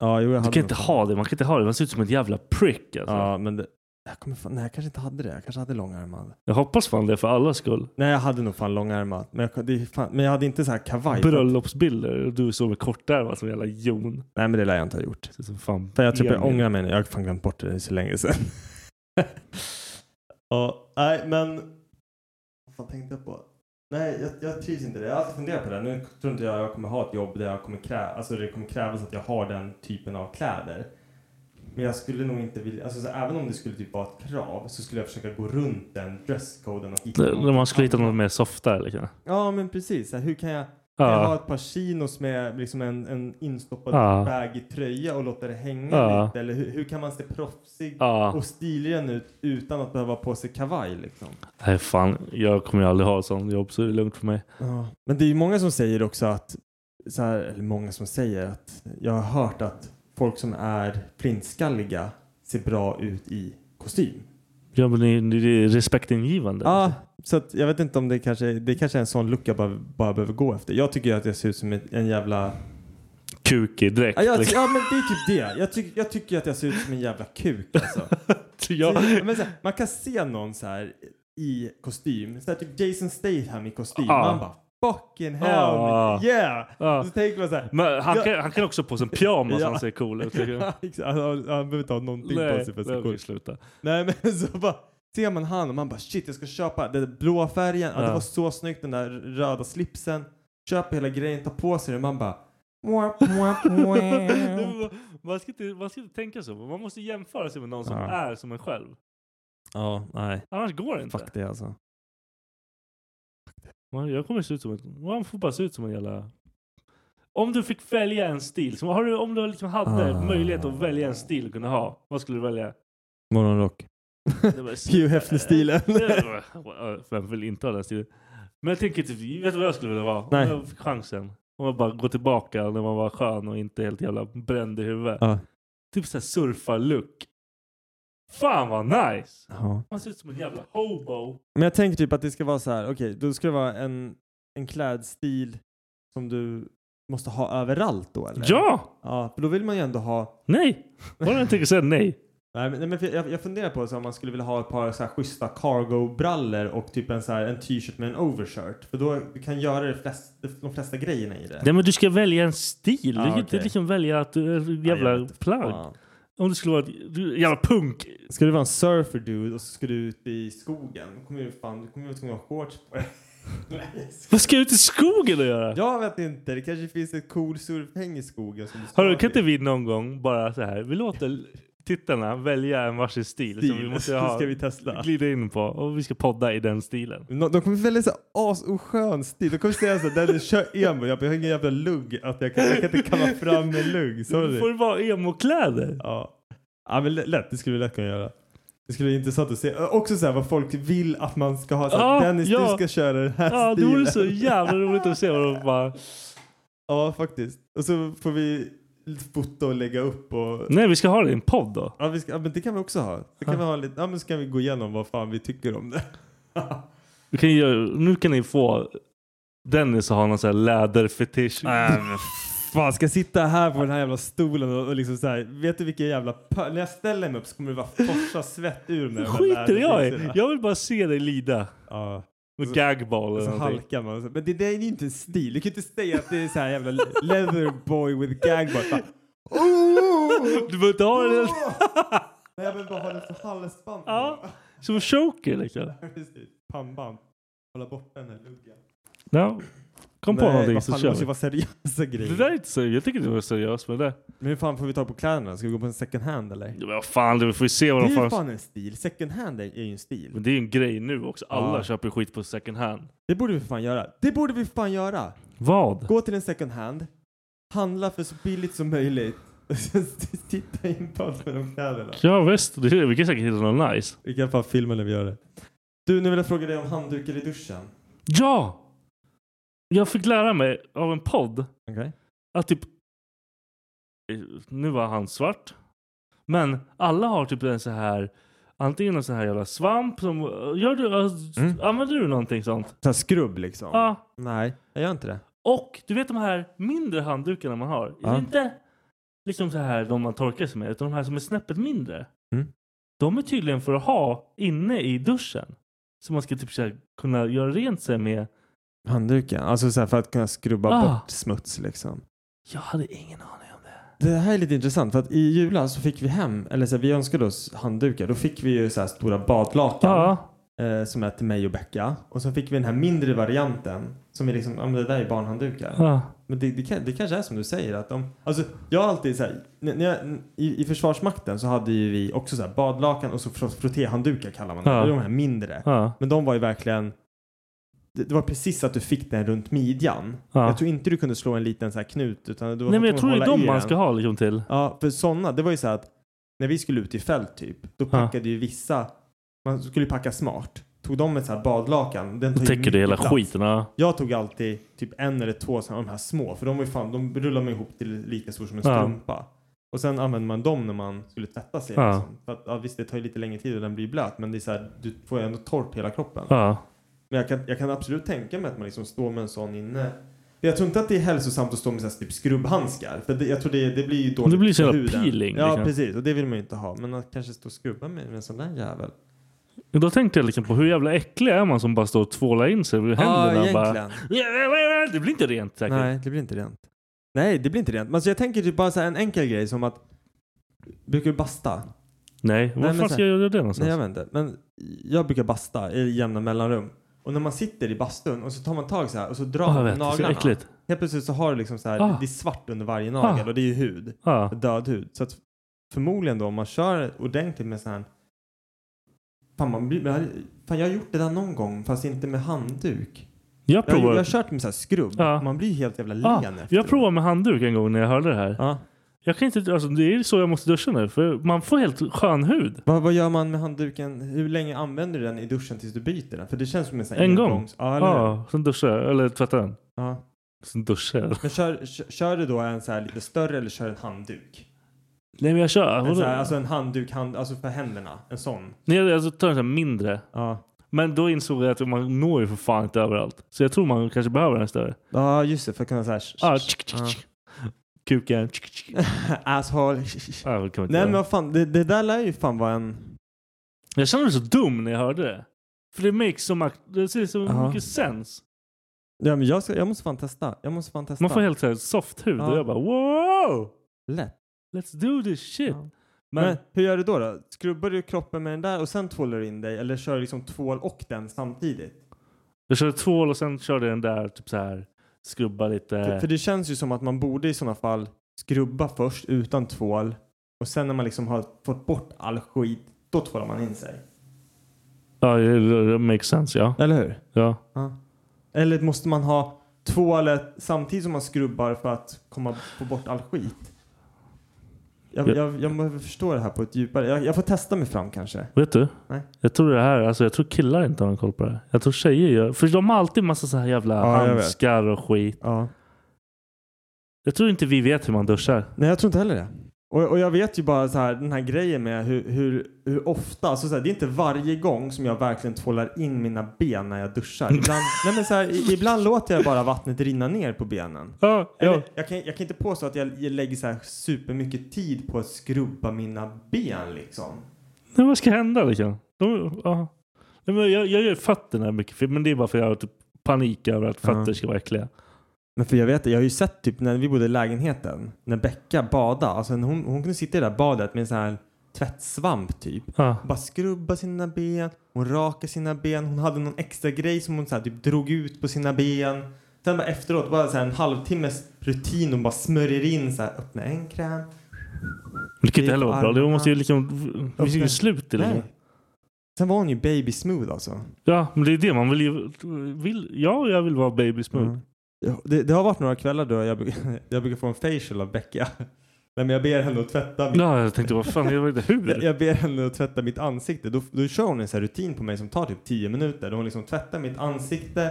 Ja, jo, jag Du hade kan nog inte fan- ha det. Man kan inte ha det. Man ser ut som ett jävla prick alltså. Ja, men det, jag kommer fan, nej, jag kanske inte hade det. Jag kanske hade långärmad. Jag hoppas fan det för allas skull. Nej, jag hade nog fan långärmad. Men jag, det är fan, men jag hade inte så här kavaj. för att- Bröllopsbilder och du såg med kortärmad som en jävla jon. Nej, men det lär jag inte ha gjort. Ser ut som fan För jag tror jag Emil. ångrar mig nu. Jag har fan glömt bort det så länge sedan. *laughs* ja, nej, men. Vad fan tänkte jag på? Nej, jag, jag trivs inte i det. Jag har alltid funderat på det. Nu tror inte jag jag kommer ha ett jobb där jag kommer krä- alltså det kommer krävas att jag har den typen av kläder. Men jag skulle nog inte vilja, alltså så även om det skulle typ vara ett krav så skulle jag försöka gå runt den dresscoden och hitta När man skulle hitta något mer softare. Liksom. Ja, men precis. Så här, hur kan jag, kan jag ha Ja. ett par chinos med liksom en, en instoppad Ja. baggy tröja och låta det hänga Ja. lite? Eller hur, hur kan man se proffsig Ja. och stilren ut utan att behöva ha på sig kavaj? Liksom? Nej fan, jag kommer ju aldrig ha ett sånt jobb så det är lugnt för mig. Ja. Men det är ju många som säger också att, så här, eller många som säger att jag har hört att folk som är flintskalliga ser bra ut i kostym. Ja men det, det är respektingivande. Ja, så att jag vet inte om det kanske, det kanske är en sån look jag bara, bara behöver gå efter. Jag tycker ju att jag ser ut som ett- en jävla kukig dräkt. Ja, jag, *laughs* liksom. ja men det är typ det. Jag, tyck, jag tycker att jag ser ut som en jävla kuk alltså. *laughs* Ja. Så- men så här, man kan se någon så här i kostym, så här, typ Jason Statham i kostym. Ja. Man bara fucking hell Ja. yeah! Ja. Så tänker man *laughs* så här. Men han, jag- kan, han kan också ha på sig en pyjamas Ja. han ser cool ut. tycker jag. Ja, *laughs* exakt. han, han behöver inte ha någonting på Nej, sig för att det se får cool vi ut. *laughs* sluta. *laughs* Nej men så bara ser man han och man bara shit jag ska köpa den där blåa färgen, ja. det Ja. var så snyggt den där röda slipsen. Köper hela grejen, tar på sig den *laughs* man bara wap, wap, wap. Man- man, ska inte, man ska inte tänka så. Man måste jämföra sig med någon som Ja. är som en själv. Ja, nej. Annars går det inte. Fuck det alltså. Man, jag kommer se ut som en... Man får bara se ut som en jävla... Om du fick välja en stil, som, har du, om du liksom hade Ah. möjlighet att välja en stil du kunde ha, vad skulle du välja? Morgonrock. Det var- Hugh Hefner-stilen. Det var- Vem vill inte ha den stilen? Men jag tänker typ, vet du vad jag skulle vilja vara? Nej. Om jag fick chansen. Om jag bara går tillbaka när man var skön och inte helt jävla bränd i huvudet. Ja. Typ såhär surfar-look. Fan vad nice! Ja. Man ser ut som en jävla hobo. Men jag tänker typ att det ska vara så här, okej, då ska det vara en, en klädstil som du måste ha överallt då eller? Ja! Ja, för då vill man ju ändå ha Nej! Bara jag tänker säga nej. Nej, men, nej, men för jag, jag funderar på så om man skulle vilja ha ett par så här schyssta cargo-brallor och typ en, så här, en t-shirt med en overshirt. För då du kan göra det flest, de flesta grejerna i det. Nej men du ska välja en stil. Ah, du kan okej. inte liksom välja att du är Ja, jag jävla vet inte. Ah. plagg. Fan. Om du skulle vara ett du- jävla punk. Ska du vara en surfer dude och så ska du ut i skogen, då kommer du fan, du kommer ju vara tvungen att ha shorts *laughs* på dig. Nej, Vad ska jag ut i skogen och göra? Jag vet inte, det kanske finns ett cool surfhäng i skogen som du ska Hörru, ha typ. kan inte med. vi någon gång bara så här, vi låter tittarna välja en varsin stil, som vi Stil, *laughs* måste så ha, ska vi testa. glida in på och vi ska podda i den stilen. Nå- De kommer välja såhär asoskön stil. De kommer säga såhär, Dennis kör emo. Jag bara, jag har ingen jävla lugg. Att jag, kan, jag kan inte kamma fram med *laughs* lugg. Då Sorry. får det vara emokläder. Ja. ja, men l- lätt. Det skulle vi lätt kunna göra. Det skulle vara intressant att se. Ö, Också såhär vad folk vill att man ska ha. Såhär, Ja, Dennis, du ja. ska köra den här Ja, det stilen. vore så jävla roligt att se vad de bara... *laughs* Ja, faktiskt. Och så får vi lite foto och lägga upp och... Nej, vi ska ha det i en podd då. Ja, vi ska, ja, men det kan vi också ha. Så kan vi ha lite... Ja, men så kan vi gå igenom vad fan vi tycker om det. Vi kan göra, nu kan ni få Dennis att ha någon sån här läderfetisch. Fan, ska jag sitta här på den här jävla stolen och, och liksom så här, vet du vilken jävla pö- När jag ställer mig upp så kommer det bara forsa svett ur mig. Det skiter jag i. Jag vill bara se dig lida. Ja, Med Så- gagball och eller så någonting. halkar man. och så- Men det, det är ju inte en stil. Du kan ju inte säga att det är så här jävla leatherboy with gagboy. Fan, Du behöver inte ha *laughs* det Nej, jag vill bara ha det för halsband. Ja. som choker liksom. Precis. Pannband. Hålla borta den här luggen. Ja. Kom på Nej, någonting vad så fan, kör Det måste vi. ju vara seriösa grejer. Det där är inte seriöst. Jag tycker det var seriöst med det. Men hur fan får vi ta på kläderna? Ska vi gå på en second hand eller? Ja, Men vad fan, vi får ju se vad Det de är fan... ju fan en stil. Second hand är är ju en stil. Men det är ju en grej nu också. Alla Ja. köper skit på second hand. Det borde vi för fan göra. Det borde vi för fan göra. Vad? Gå till en second hand. Handla för så billigt som möjligt. *laughs* Och sen titta in på allt med de kläderna. Ja visst, det, vi kan säkert hitta något nice. Vi kan fan filma när vi gör det. Du, nu vill jag fråga dig om handdukar i duschen. Ja! Jag fick lära mig av en podd Okej. att typ... eh, Nu var han svart. Men alla har typ en så här... Antingen en sån här jävla svamp som... Gör du, Mm. Använder du någonting sånt? Så här skrubb liksom? Ja. Nej, jag gör inte det. Och du vet de här mindre handdukarna man har? Ja. Inte liksom så här de man torkar sig med, utan de här som är snäppet mindre. Mm. De är tydligen för att ha inne i duschen. Så man ska typ så här, kunna göra rent sig med. Handduken? Alltså så här för att kunna skrubba Ah. bort smuts liksom. Jag hade ingen aning om det. Det här är lite intressant för att i julas så fick vi hem, eller så här, vi önskade oss handdukar. Då fick vi ju så här stora badlakan. Ja. eh, som är till mig och Becka. Och så fick vi den här mindre varianten som är liksom, ja men det där är barnhanddukar. ja. Men det, det, kan- det kanske är som du säger att de, alltså jag har alltid så här, när när jag, i, i Försvarsmakten så hade ju vi också så här badlakan och så fr- frottéhanddukar kallar man det. Ja. Det är de här mindre. Ja. Men de var ju verkligen, det, det var precis att du fick den runt midjan. Ja. Jag tror inte du kunde slå en liten så här knut utan du var Nej men tvungen jag att tror det är hålla de i man den. ska ha liksom till. Ja, för sådana, det var ju så här att när vi skulle ut i fält typ, då packade ju vissa, man skulle ju packa smart. Tog de ett så här badlakan. Den tar Då ju täcker mycket det hela plats. skiten. Ja. Jag tog alltid typ en eller två såna- av de här små, för de var ju fan, de rullade man ihop till lika stor som en Ja. strumpa. Och sen använde man dem när man skulle tvätta sig. Ja. Liksom. För att, ja, visst, det tar ju lite längre tid och den blir blöt, men det är så här, du får ju ändå torr på hela kroppen. Ja. Men jag kan, jag kan absolut tänka mig att man liksom står med en sån inne Jag tror inte att det är hälsosamt att stå med så här, typ skrubbhandskar. För det, jag tror det, det blir ju dåligt Det blir så för jävla huden. peeling, Ja, liksom. precis. Och det vill man ju inte ha. Men att kanske stå och skrubba med med en sån där jävel. Men Då tänkte jag liksom på hur jävla äcklig är man som bara står och tvålar in sig vid händerna. och bara, egentligen. det blir inte rent säkert. Nej, det blir inte rent. Nej, det blir inte rent. Men alltså, jag tänker typ bara så här en enkel grej som att... Brukar du basta? Nej, var men fan så ska här- jag göra det någonstans? Nej, jag vet inte. Men jag brukar basta i jämna mellanrum. Och när man sitter i bastun och så tar man tag så här och så drar Ah, jag man vet. Det är så naglarna. äckligt. Helt plötsligt så har du liksom så här, Ah. det är svart under varje nagel Ah. och det är ju hud. Ah. Död hud. Så att förmodligen då om man kör ordentligt med sån här Fan, man, blir- men- fan, jag har gjort det där någon gång fast inte med handduk. Jag Jag, provar. jag har kört med så här skrubb. Ja. Man blir ju helt jävla len Ah, efteråt. jag provade med handduk en gång när jag hörde det här. Jag kan inte, alltså, det är så jag måste duscha nu. För man får helt skön hud. Vad, vad gör man med handduken? Hur länge använder du den i duschen tills du byter den? För det känns som en sån här En gång. engångs- Ja, Ja, eller hur? sen duschar jag. Eller tvättar den. Ja. Sen duschar jag. Men kör, kör, kör du då en så här lite större eller kör en handduk? Nej men jag kör. En Vadå? så här, alltså en handduk hand, alltså för händerna. En sån. Nej, jag alltså, tar en sån här mindre. Men då insåg jag att man når ju för fan inte överallt. Så jag tror man kanske behöver en större. Ja just det, för att kunna såhär... Ah, tsk, tsk, tsk. Kuken. tsk, tsk. Ah, Asshole. det kan man inte Nej göra. men vad fan, det, det där lär ju fan vara en... Jag kände mig så dum när jag hörde det. För det makes så mycket, det ser så Ja. mycket sens. Ja men jag, ska, jag måste fan testa. Jag måste fan testa. Man får helt så här soft hud Ja. och jag bara wow! Lätt. Let's do this shit! Men, Men- hur gör du då, då? Skrubbar du kroppen med den där och sen tvålar du in dig? Eller kör du liksom tvål och den samtidigt? Jag körde tvål och sen körde jag den där typ så här skrubba lite. Typ För, för det känns ju som att man borde i sådana fall skrubba först utan tvål och sen när man liksom har fått bort all skit, då tvålar man in sig. Ja, det, det makes sense ja. Eller hur? Ja. Ja. Eller måste man ha tvålet samtidigt som man skrubbar för att komma, få bort all skit? Jag, Ja. jag, jag behöver förstå det här på ett djupare... Jag, jag får testa mig fram kanske. Vet du? Nej. Jag tror det här, alltså jag tror killar inte har någon koll på det här. Jag tror tjejer gör, för de har alltid massa så här jävla Ja, jag vet. handskar och skit. Ja. Jag tror inte vi vet hur man duschar. Nej, jag tror inte heller det. Och, och jag vet ju bara så här, den här grejen med hur, hur, hur ofta, alltså så här, det är inte varje gång som jag verkligen tvålar in mina ben när jag duschar. *laughs* Ibland, nej men så här, i- ibland låter jag bara vattnet rinna ner på benen. Ja, Eller, jag, kan, jag kan inte påstå att jag, jag lägger så här supermycket tid på att skrubba mina ben liksom. Nej, vad ska hända liksom? De, ja. Nej, men jag, jag gör fötterna mycket, för- men det är bara för att jag har typ panik över att fötter Ja. ska vara äckliga. Men för jag vet, jag har ju sett typ när vi bodde i lägenheten, när Becka badade, alltså när hon, hon kunde sitta i det där badet med en sån här tvättsvamp typ. Ja. Bara skrubba sina ben, hon rakade sina ben, hon hade någon extra grej som hon så här typ drog ut på sina ben. Sen bara efteråt, bara så här en halvtimmes rutin, hon bara smörjer in så här, öppna en kräm. Det kan Det är inte heller vara bra. Det armarna. måste ju liksom... Det finns ju inget slut i det. Nej. Sen var hon ju baby smooth alltså. Ja, men det är det. Man vill ju... Vill, ja, jag vill vara baby smooth. Mm. Ja, Det, det har varit några kvällar då jag, bruk- *laughs* jag brukar få en facial av Becka. Nej men jag ber henne att tvätta mitt, Ja, jag tänkte vad fan, jag vet inte jag, hur. jag ber henne att tvätta mitt ansikte. Då, då kör hon en sån här rutin på mig som tar typ 10 minuter. Då hon liksom tvättar mitt ansikte.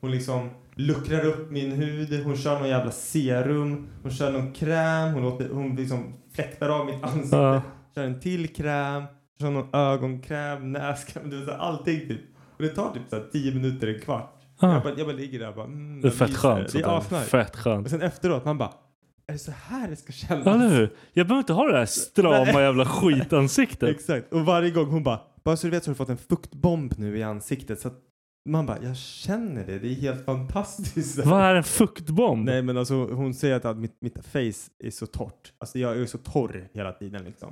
Hon liksom luckrar upp min hud. Hon kör någon jävla serum. Hon kör någon kräm. Hon, låter, hon liksom fläktar av mitt ansikte. Ja. ah. Kör en till kräm. Kör någon ögonkräm, näskräm. Du vet, så här, allting typ. Och det tar typ så här 10 minuter, en kvart. Ja. Jag, bara, jag bara ligger där och bara mm, Ah. Det är jag fett myser. skönt. Det sånt är där. asnice. Fett skönt. Och sen efteråt man bara, är det så här det ska kännas? Ja, Eller hur? Jag behöver inte ha det här Nej. strama jävla skitansiktet. *laughs* Exakt. Och varje gång hon bara, bara så du vet så har du fått en fuktbomb nu i ansiktet. Så att man bara, jag känner det. Det är helt fantastiskt. *laughs* Vad är en fuktbomb? Nej men alltså hon säger att- att mitt, mitt face är så torrt. Alltså jag är så torr hela tiden liksom.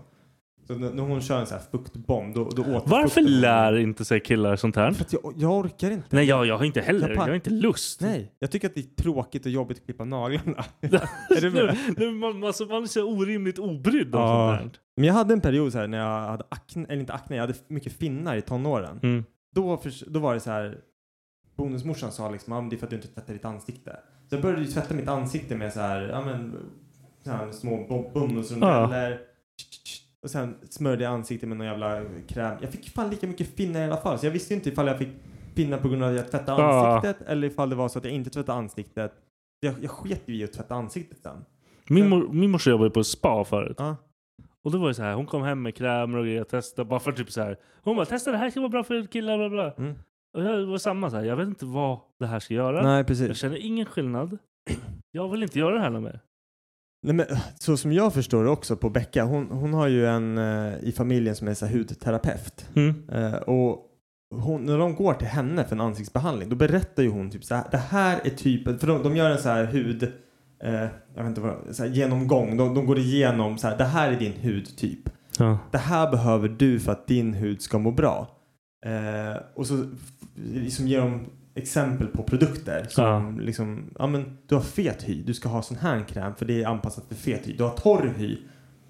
Så när när hon kör en sån här fuktbomb då, då återfuktar Varför hon. lär inte sig killar sånt här? För att jag, jag orkar inte. Nej, jag, jag har inte heller. Jag Jag, pa- har inte lust. Nej, jag tycker att det är tråkigt och jobbigt att klippa naglarna. *laughs* är *laughs* du med? man, alltså, man är så orimligt obrydd om Ja. sånt Men jag hade en period så här när jag hade akne, eller inte akne, jag hade mycket finnar i tonåren. där. Mm. Då, förs- då var det så här, bonusmorsan sa liksom, ah, men det är för att du inte tvättar ditt ansikte. Så jag började ju tvätta mitt ansikte med så här, ja men, så här små bo- bomullsrondeller. Och sen smörjde jag ansiktet med någon jävla kräm. Jag fick fan lika mycket finnar i alla fall. Så jag visste ju inte ifall jag fick finnar på grund av att jag tvättade Ja. ansiktet eller ifall det var så att jag inte tvättade ansiktet. Jag, jag sket ju i att tvätta ansiktet sen. Min, mor, min morsa jobbade på spa förut. Ja. Och då var det så här, hon kom hem med krämer och grejer och testade. Bara för typ så här. Hon bara, testa det här ska vara bra för killar. Bla bla. Mm. Och jag var samma så här, jag vet inte vad det här ska göra. Nej, Jag precis. känner ingen skillnad. *clears throat* Jag vill inte göra det här något mer. Nej, men, så som jag förstår det också på Becka, hon, hon har ju en eh, i familjen som är så här, hudterapeut. Mm. Eh, och hon, när de går till henne för en ansiktsbehandling då berättar ju hon typ så här, det här är typen, för de, de gör en så här hud, eh, jag vet inte vad, så här, genomgång, de, de går igenom så här, det här är din hudtyp. Ja. Det här behöver du för att din hud ska må bra. Eh, och så liksom ger de exempel på produkter. Som Ja. Liksom, ja, men, du har fet hy, du ska ha sån här kräm för det är anpassat för fet hy. Du har torr hy,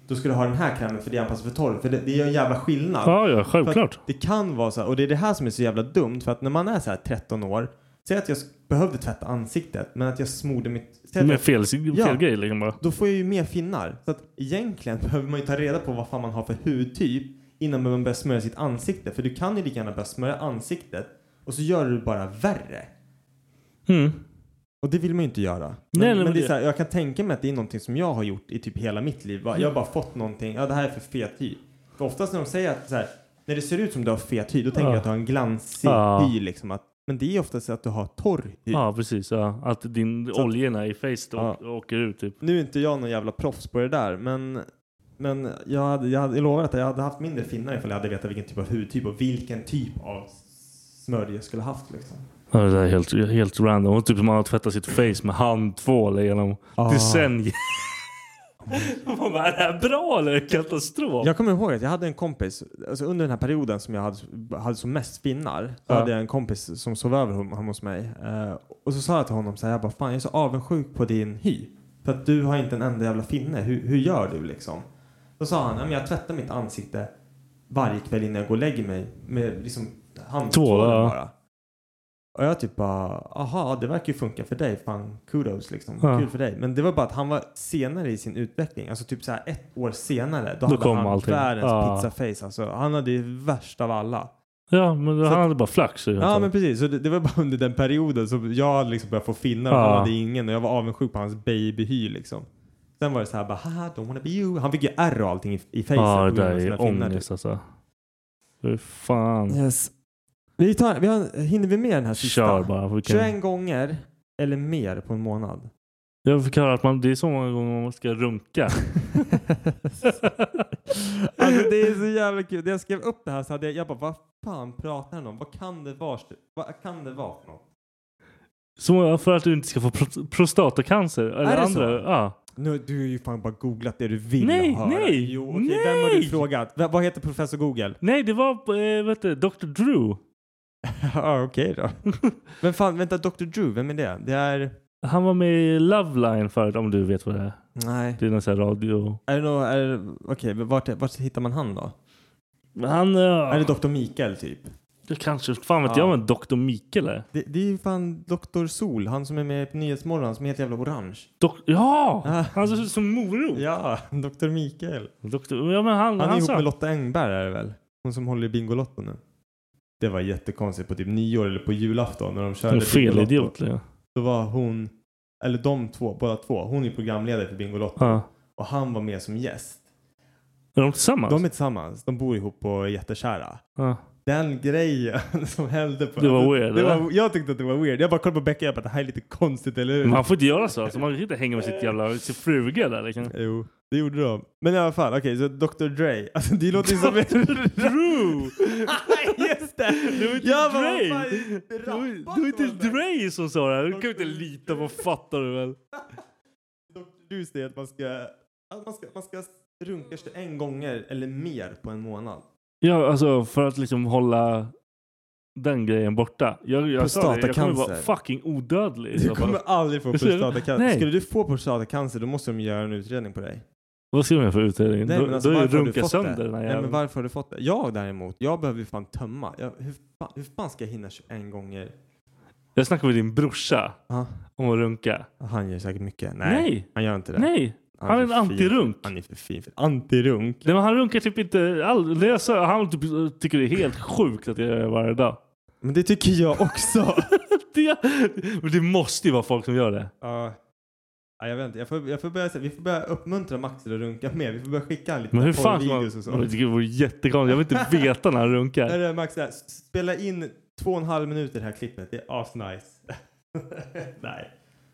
då ska du ha den här krämen för det är anpassat för torr. För det, det gör en jävla skillnad. Ja, ja, För att självklart. Det kan vara så här, och det är det här som är så jävla dumt. För att när man är så här 13 år, säg att jag s- behövde tvätta ansiktet men att jag smorde mitt... säg att Med jag- fel, fel Ja. grej liksom bara. då får jag ju mer finnar. Så att egentligen *laughs* behöver man ju ta reda på vad fan man har för hudtyp innan man börjar smörja sitt ansikte. För du kan ju lika gärna börja smörja ansiktet och så gör du det bara värre. Och det vill man ju inte göra. Men, Mm. Nej, nej, men men det är det- så här, jag kan tänka mig att det är någonting som jag har gjort i typ hela mitt liv. Bara- Jag har bara fått någonting, ja det här är för fet hy. För oftast när de säger att så här, när det ser ut som du har fet hy, då tänker Ja. jag att du har en glansig Ja. hy liksom. Att, men det är oftast att du har torr hy. Ja, precis. Ja. Att din Så att- oljorna i face då Ja. åker ut typ. Nu är inte jag någon jävla proffs på det där, men, men jag, hade, jag, hade, jag lovar att jag hade haft mindre finnar ifall jag hade vetat vilken typ av hudtyp och vilken typ av smörja jag skulle haft. Liksom. Ja, det där är helt, helt random. Och typ som man har tvättat sitt face med handtvål genom Ah. *laughs* decennier. man bara, är det här bra eller katastrof? Jag kommer ihåg att jag hade en kompis, alltså under den här perioden som jag hade, hade som mest finnar, så Ja. hade jag en kompis som sov över hemma hos mig. Eh, och så sa jag till honom så här, jag bara fan jag är så avundsjuk på din hy. För att du har inte en enda jävla finne, hur, hur gör du liksom? Då sa han, "Ja, men jag tvättar mitt ansikte varje kväll innan jag går och lägger mig med liksom handtvålen Tvål, ja. bara. Och jag typ bara, aha det verkar ju funka för dig, fan kudos liksom, Ja. kul för dig. Men det var bara att han var senare i sin utveckling, alltså typ så här ett år senare, då, Då hade kom han allting. världens Ja. pizzaface alltså. Han hade ju värst av alla. Ja, men Så han att- hade bara flax. Ja men precis, så det, det var bara under den perioden som jag hade liksom började få finnar och Ja. han hade ingen och jag var avundsjuk på hans babyhy liksom. Sen var det så här bara haha don't wanna be you. Han fick ju ärr och allting i, i facet. Ja, på det grund där av är sina finnar, typ. ångest alltså. Fy fan. Yes. Vi tar, vi har, hinner vi med den här sista? Kör bara. Vi kan- 21 gånger eller mer på en månad. Jag fick höra att man, det är så många gånger man ska runka. *laughs* Alltså det är så jävla kul. När jag skrev upp det här så hade jag, jag bara vad fan pratar han om? Vad kan det vara? Vad kan det vara för något? så för att du inte ska få pro- prostatacancer. Eller Är det andra. så? Ja. Nu, du har ju fan bara googlat det du vill Nej, höra. nej, Jo, okej, vem har du nej. frågat? V- vad heter *laughs* professor Google? Nej, det var eh, vet du, Dr. Drew. ja, okej *laughs* då. Men fan, vänta, Dr. Drew, vem är det? Det är... Han var med i Loveline förut, om du vet vad det är. Nej. Det är någon sån här radio... Är det nå- är det- Okej, vart, vart hittar man han då? Han... eh, Är det Dr. Mikael typ? det kanske... Fan vet Ja. jag vad en Dr. Mikael är? Det, det är ju fan Dr. Sol, han som är med på Nyhetsmorgon, han som är helt jävla orange. Dok- ja! Ah. Han ser ut som morot. Ja, *laughs* Dr. Mikael. Doktor- ja, men Oh. han, Han är ihop sa- med Lotta Engberg är det väl? Hon som håller i Bingolotto nu. Det var jättekonstigt på typ nyår eller på julafton när de körde En fel Bingolotto. idiot. Ja. Då var hon, eller de två, båda två, hon är programledare för Bingolotto. Ja. Och han var med som gäst. Är de tillsammans? De är tillsammans, de bor ihop och är jättekära. Ja. Den grejen *laughs* som hände på... alltså, Det var weird, det var, eller? Jag tyckte att det var weird. Jag bara kollade på Becka och jag bara det här är lite konstigt eller hur? Men han får inte göra så. Alltså, man kan inte hänga med sitt jävla sin fruga där liksom. *laughs* Jo, det gjorde de. Men i alla fall, okej, så Dr. Dre. *laughs* Alltså det låter ju som... *laughs* Drew! *laughs* Just det! Det var inte Jag bara, Dre! vad fan, Det var- det var inte Dre som sa det här. Du kan ju inte lita på, fattar du väl? Dr. Dre säger att man ska, att man ska, man ska runka 21 gånger eller mer på en månad. Ja, alltså för att liksom hålla den grejen borta. Jag, jag sa det, jag kommer vara Prostatacancer. fucking odödlig. i Du så fall. kommer aldrig få Jag ser- prostatacancer. Nej. Skulle du få prostatacancer då måste de göra en utredning på dig. Vad ska man göra för utredning? Nej, då men alltså, då är varför det har du runka fått sönder det? den här Nej, men jäveln. varför har du fått det? Jag däremot, jag behöver ju fan tömma. Jag, hur, fan, hur fan ska jag hinna 21 gånger? Jag snackade med din brorsa Ja. om att runka. Han gör säkert mycket. Nej, Nej! han gör inte det. Nej! Han är en för fin. antirunk. Han är för fin för antirunk. Nej, men han runkar typ inte all... det jag sa- Han typ, tycker det är helt sjukt att jag gör det varje dag. Men det tycker *laughs* jag också. Det, men det måste ju vara folk som gör det. Ja. Ja, jag vet inte. Jag får, jag får börja, säga- vi får börja uppmuntra Max till att runka mer. Vi får börja skicka han lite Men hur fan ska man... porrvideos och så. Jag tycker Det vore jättekonstigt. Jag vill inte veta när han Där runkar. är Max, där. S- spela in två och en halv minut i det här klippet. Det är asnice. *laughs* Nej.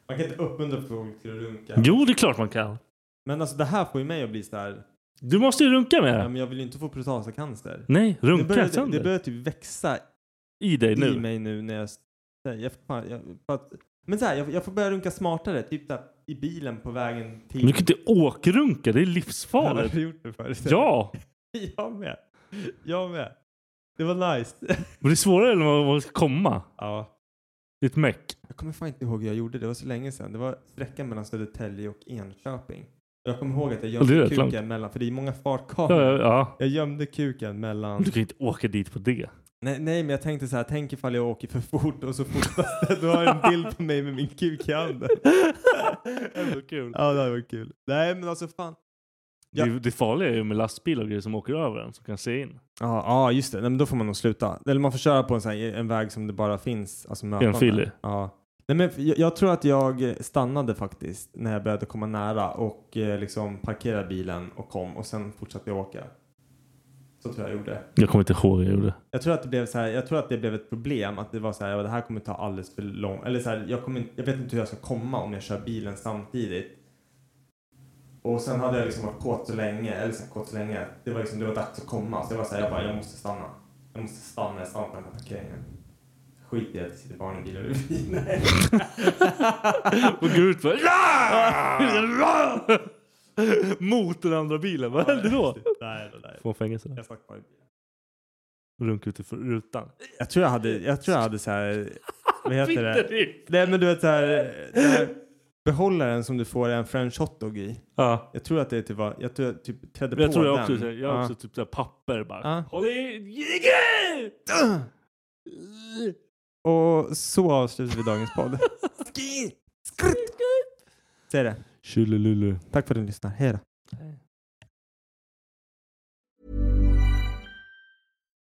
Man kan inte uppmuntra folk till att runka. Jo, det är klart man kan. Men alltså det här får ju mig att bli så här. Du måste ju runka med Ja, det. men jag vill ju inte få prostatacancer. Nej, runka det börjar, sönder. Det börjar typ växa I dig i nu. mig nu när jag säger. Jag, fan, jag, för att, men så här, jag, jag får börja runka smartare. Typ där, i bilen på vägen till. Men Du kan inte åkrunka, det är Jag livsfarligt. har gjort det förut. Ja, *laughs* Jag med. Jag med. Det var nice. *laughs* men det är svårare än vad vad ska komma. Ja. Det är ett meck. Jag kommer fan inte ihåg hur jag gjorde. Det var så länge sedan. Det var sträckan mellan Södertälje och Enköping. Jag kommer ihåg att jag Ja, det är gömde rätt kuken långt. mellan, för det är många Ja, fartkameror. ja, ja. Jag gömde kuken mellan... Du kan inte åka dit på det. Nej, nej, men jag tänkte så här, tänk ifall jag åker för fort och så fotas det. *laughs* Du har jag en bild på mig med min kuk *laughs* i handen. Ändå kul. Ja, det var kul. Nej, men alltså fan. Ja. Det, det farliga är ju med lastbilar och grejer som åker över en som kan se in. Ja, ja just det. Nej, men då får man nog sluta. Eller man får köra på en, sån här, en väg som det bara finns. Alltså mötande. Enfilig. Ja. Nej, men jag, jag tror att jag stannade faktiskt när jag började komma nära och eh, liksom parkerade bilen och kom och sen fortsatte jag åka. Så tror jag jag gjorde. Jag kommer inte ihåg hur jag gjorde. Jag tror att det blev så här, jag tror att det blev ett problem att det var så här, ja, det här kommer ta alldeles för lång, eller så här, jag, kommer, inte- jag vet inte hur jag ska komma om jag kör bilen samtidigt. Och sen hade jag liksom varit kåt så länge, eller så här, kåt så länge, det var liksom, det var dags att komma. Så jag var så här, jag bara, jag måste stanna. Jag måste stanna, jag stannar på den här parkeringen. Skit i att det sitter barn i bilen bredvid. Nej. Och går ut bara... "Ra!" Mot den andra bilen. *laughs* Vad hände då? Nej, nej, nej. Får fängelse. Jag stack bara i bilen. Runk ut i för- rutan. Jag tror jag hade, jag tror jag hade så här, vad heter det? Bitterligt. Nej men du vet så här, den här behållaren som du får en french hotdog i. Ja. Jag tror att det typ var, jag tror jag typ trädde Men jag på tror jag den. också, så här- jag har Ja. också typ så här papper bara. Ja. Håll i... Och så avslutar vi dagens podd. Skrutt. Säg det. Tjolilulu. Tack för att ni lyssnar. Hej då.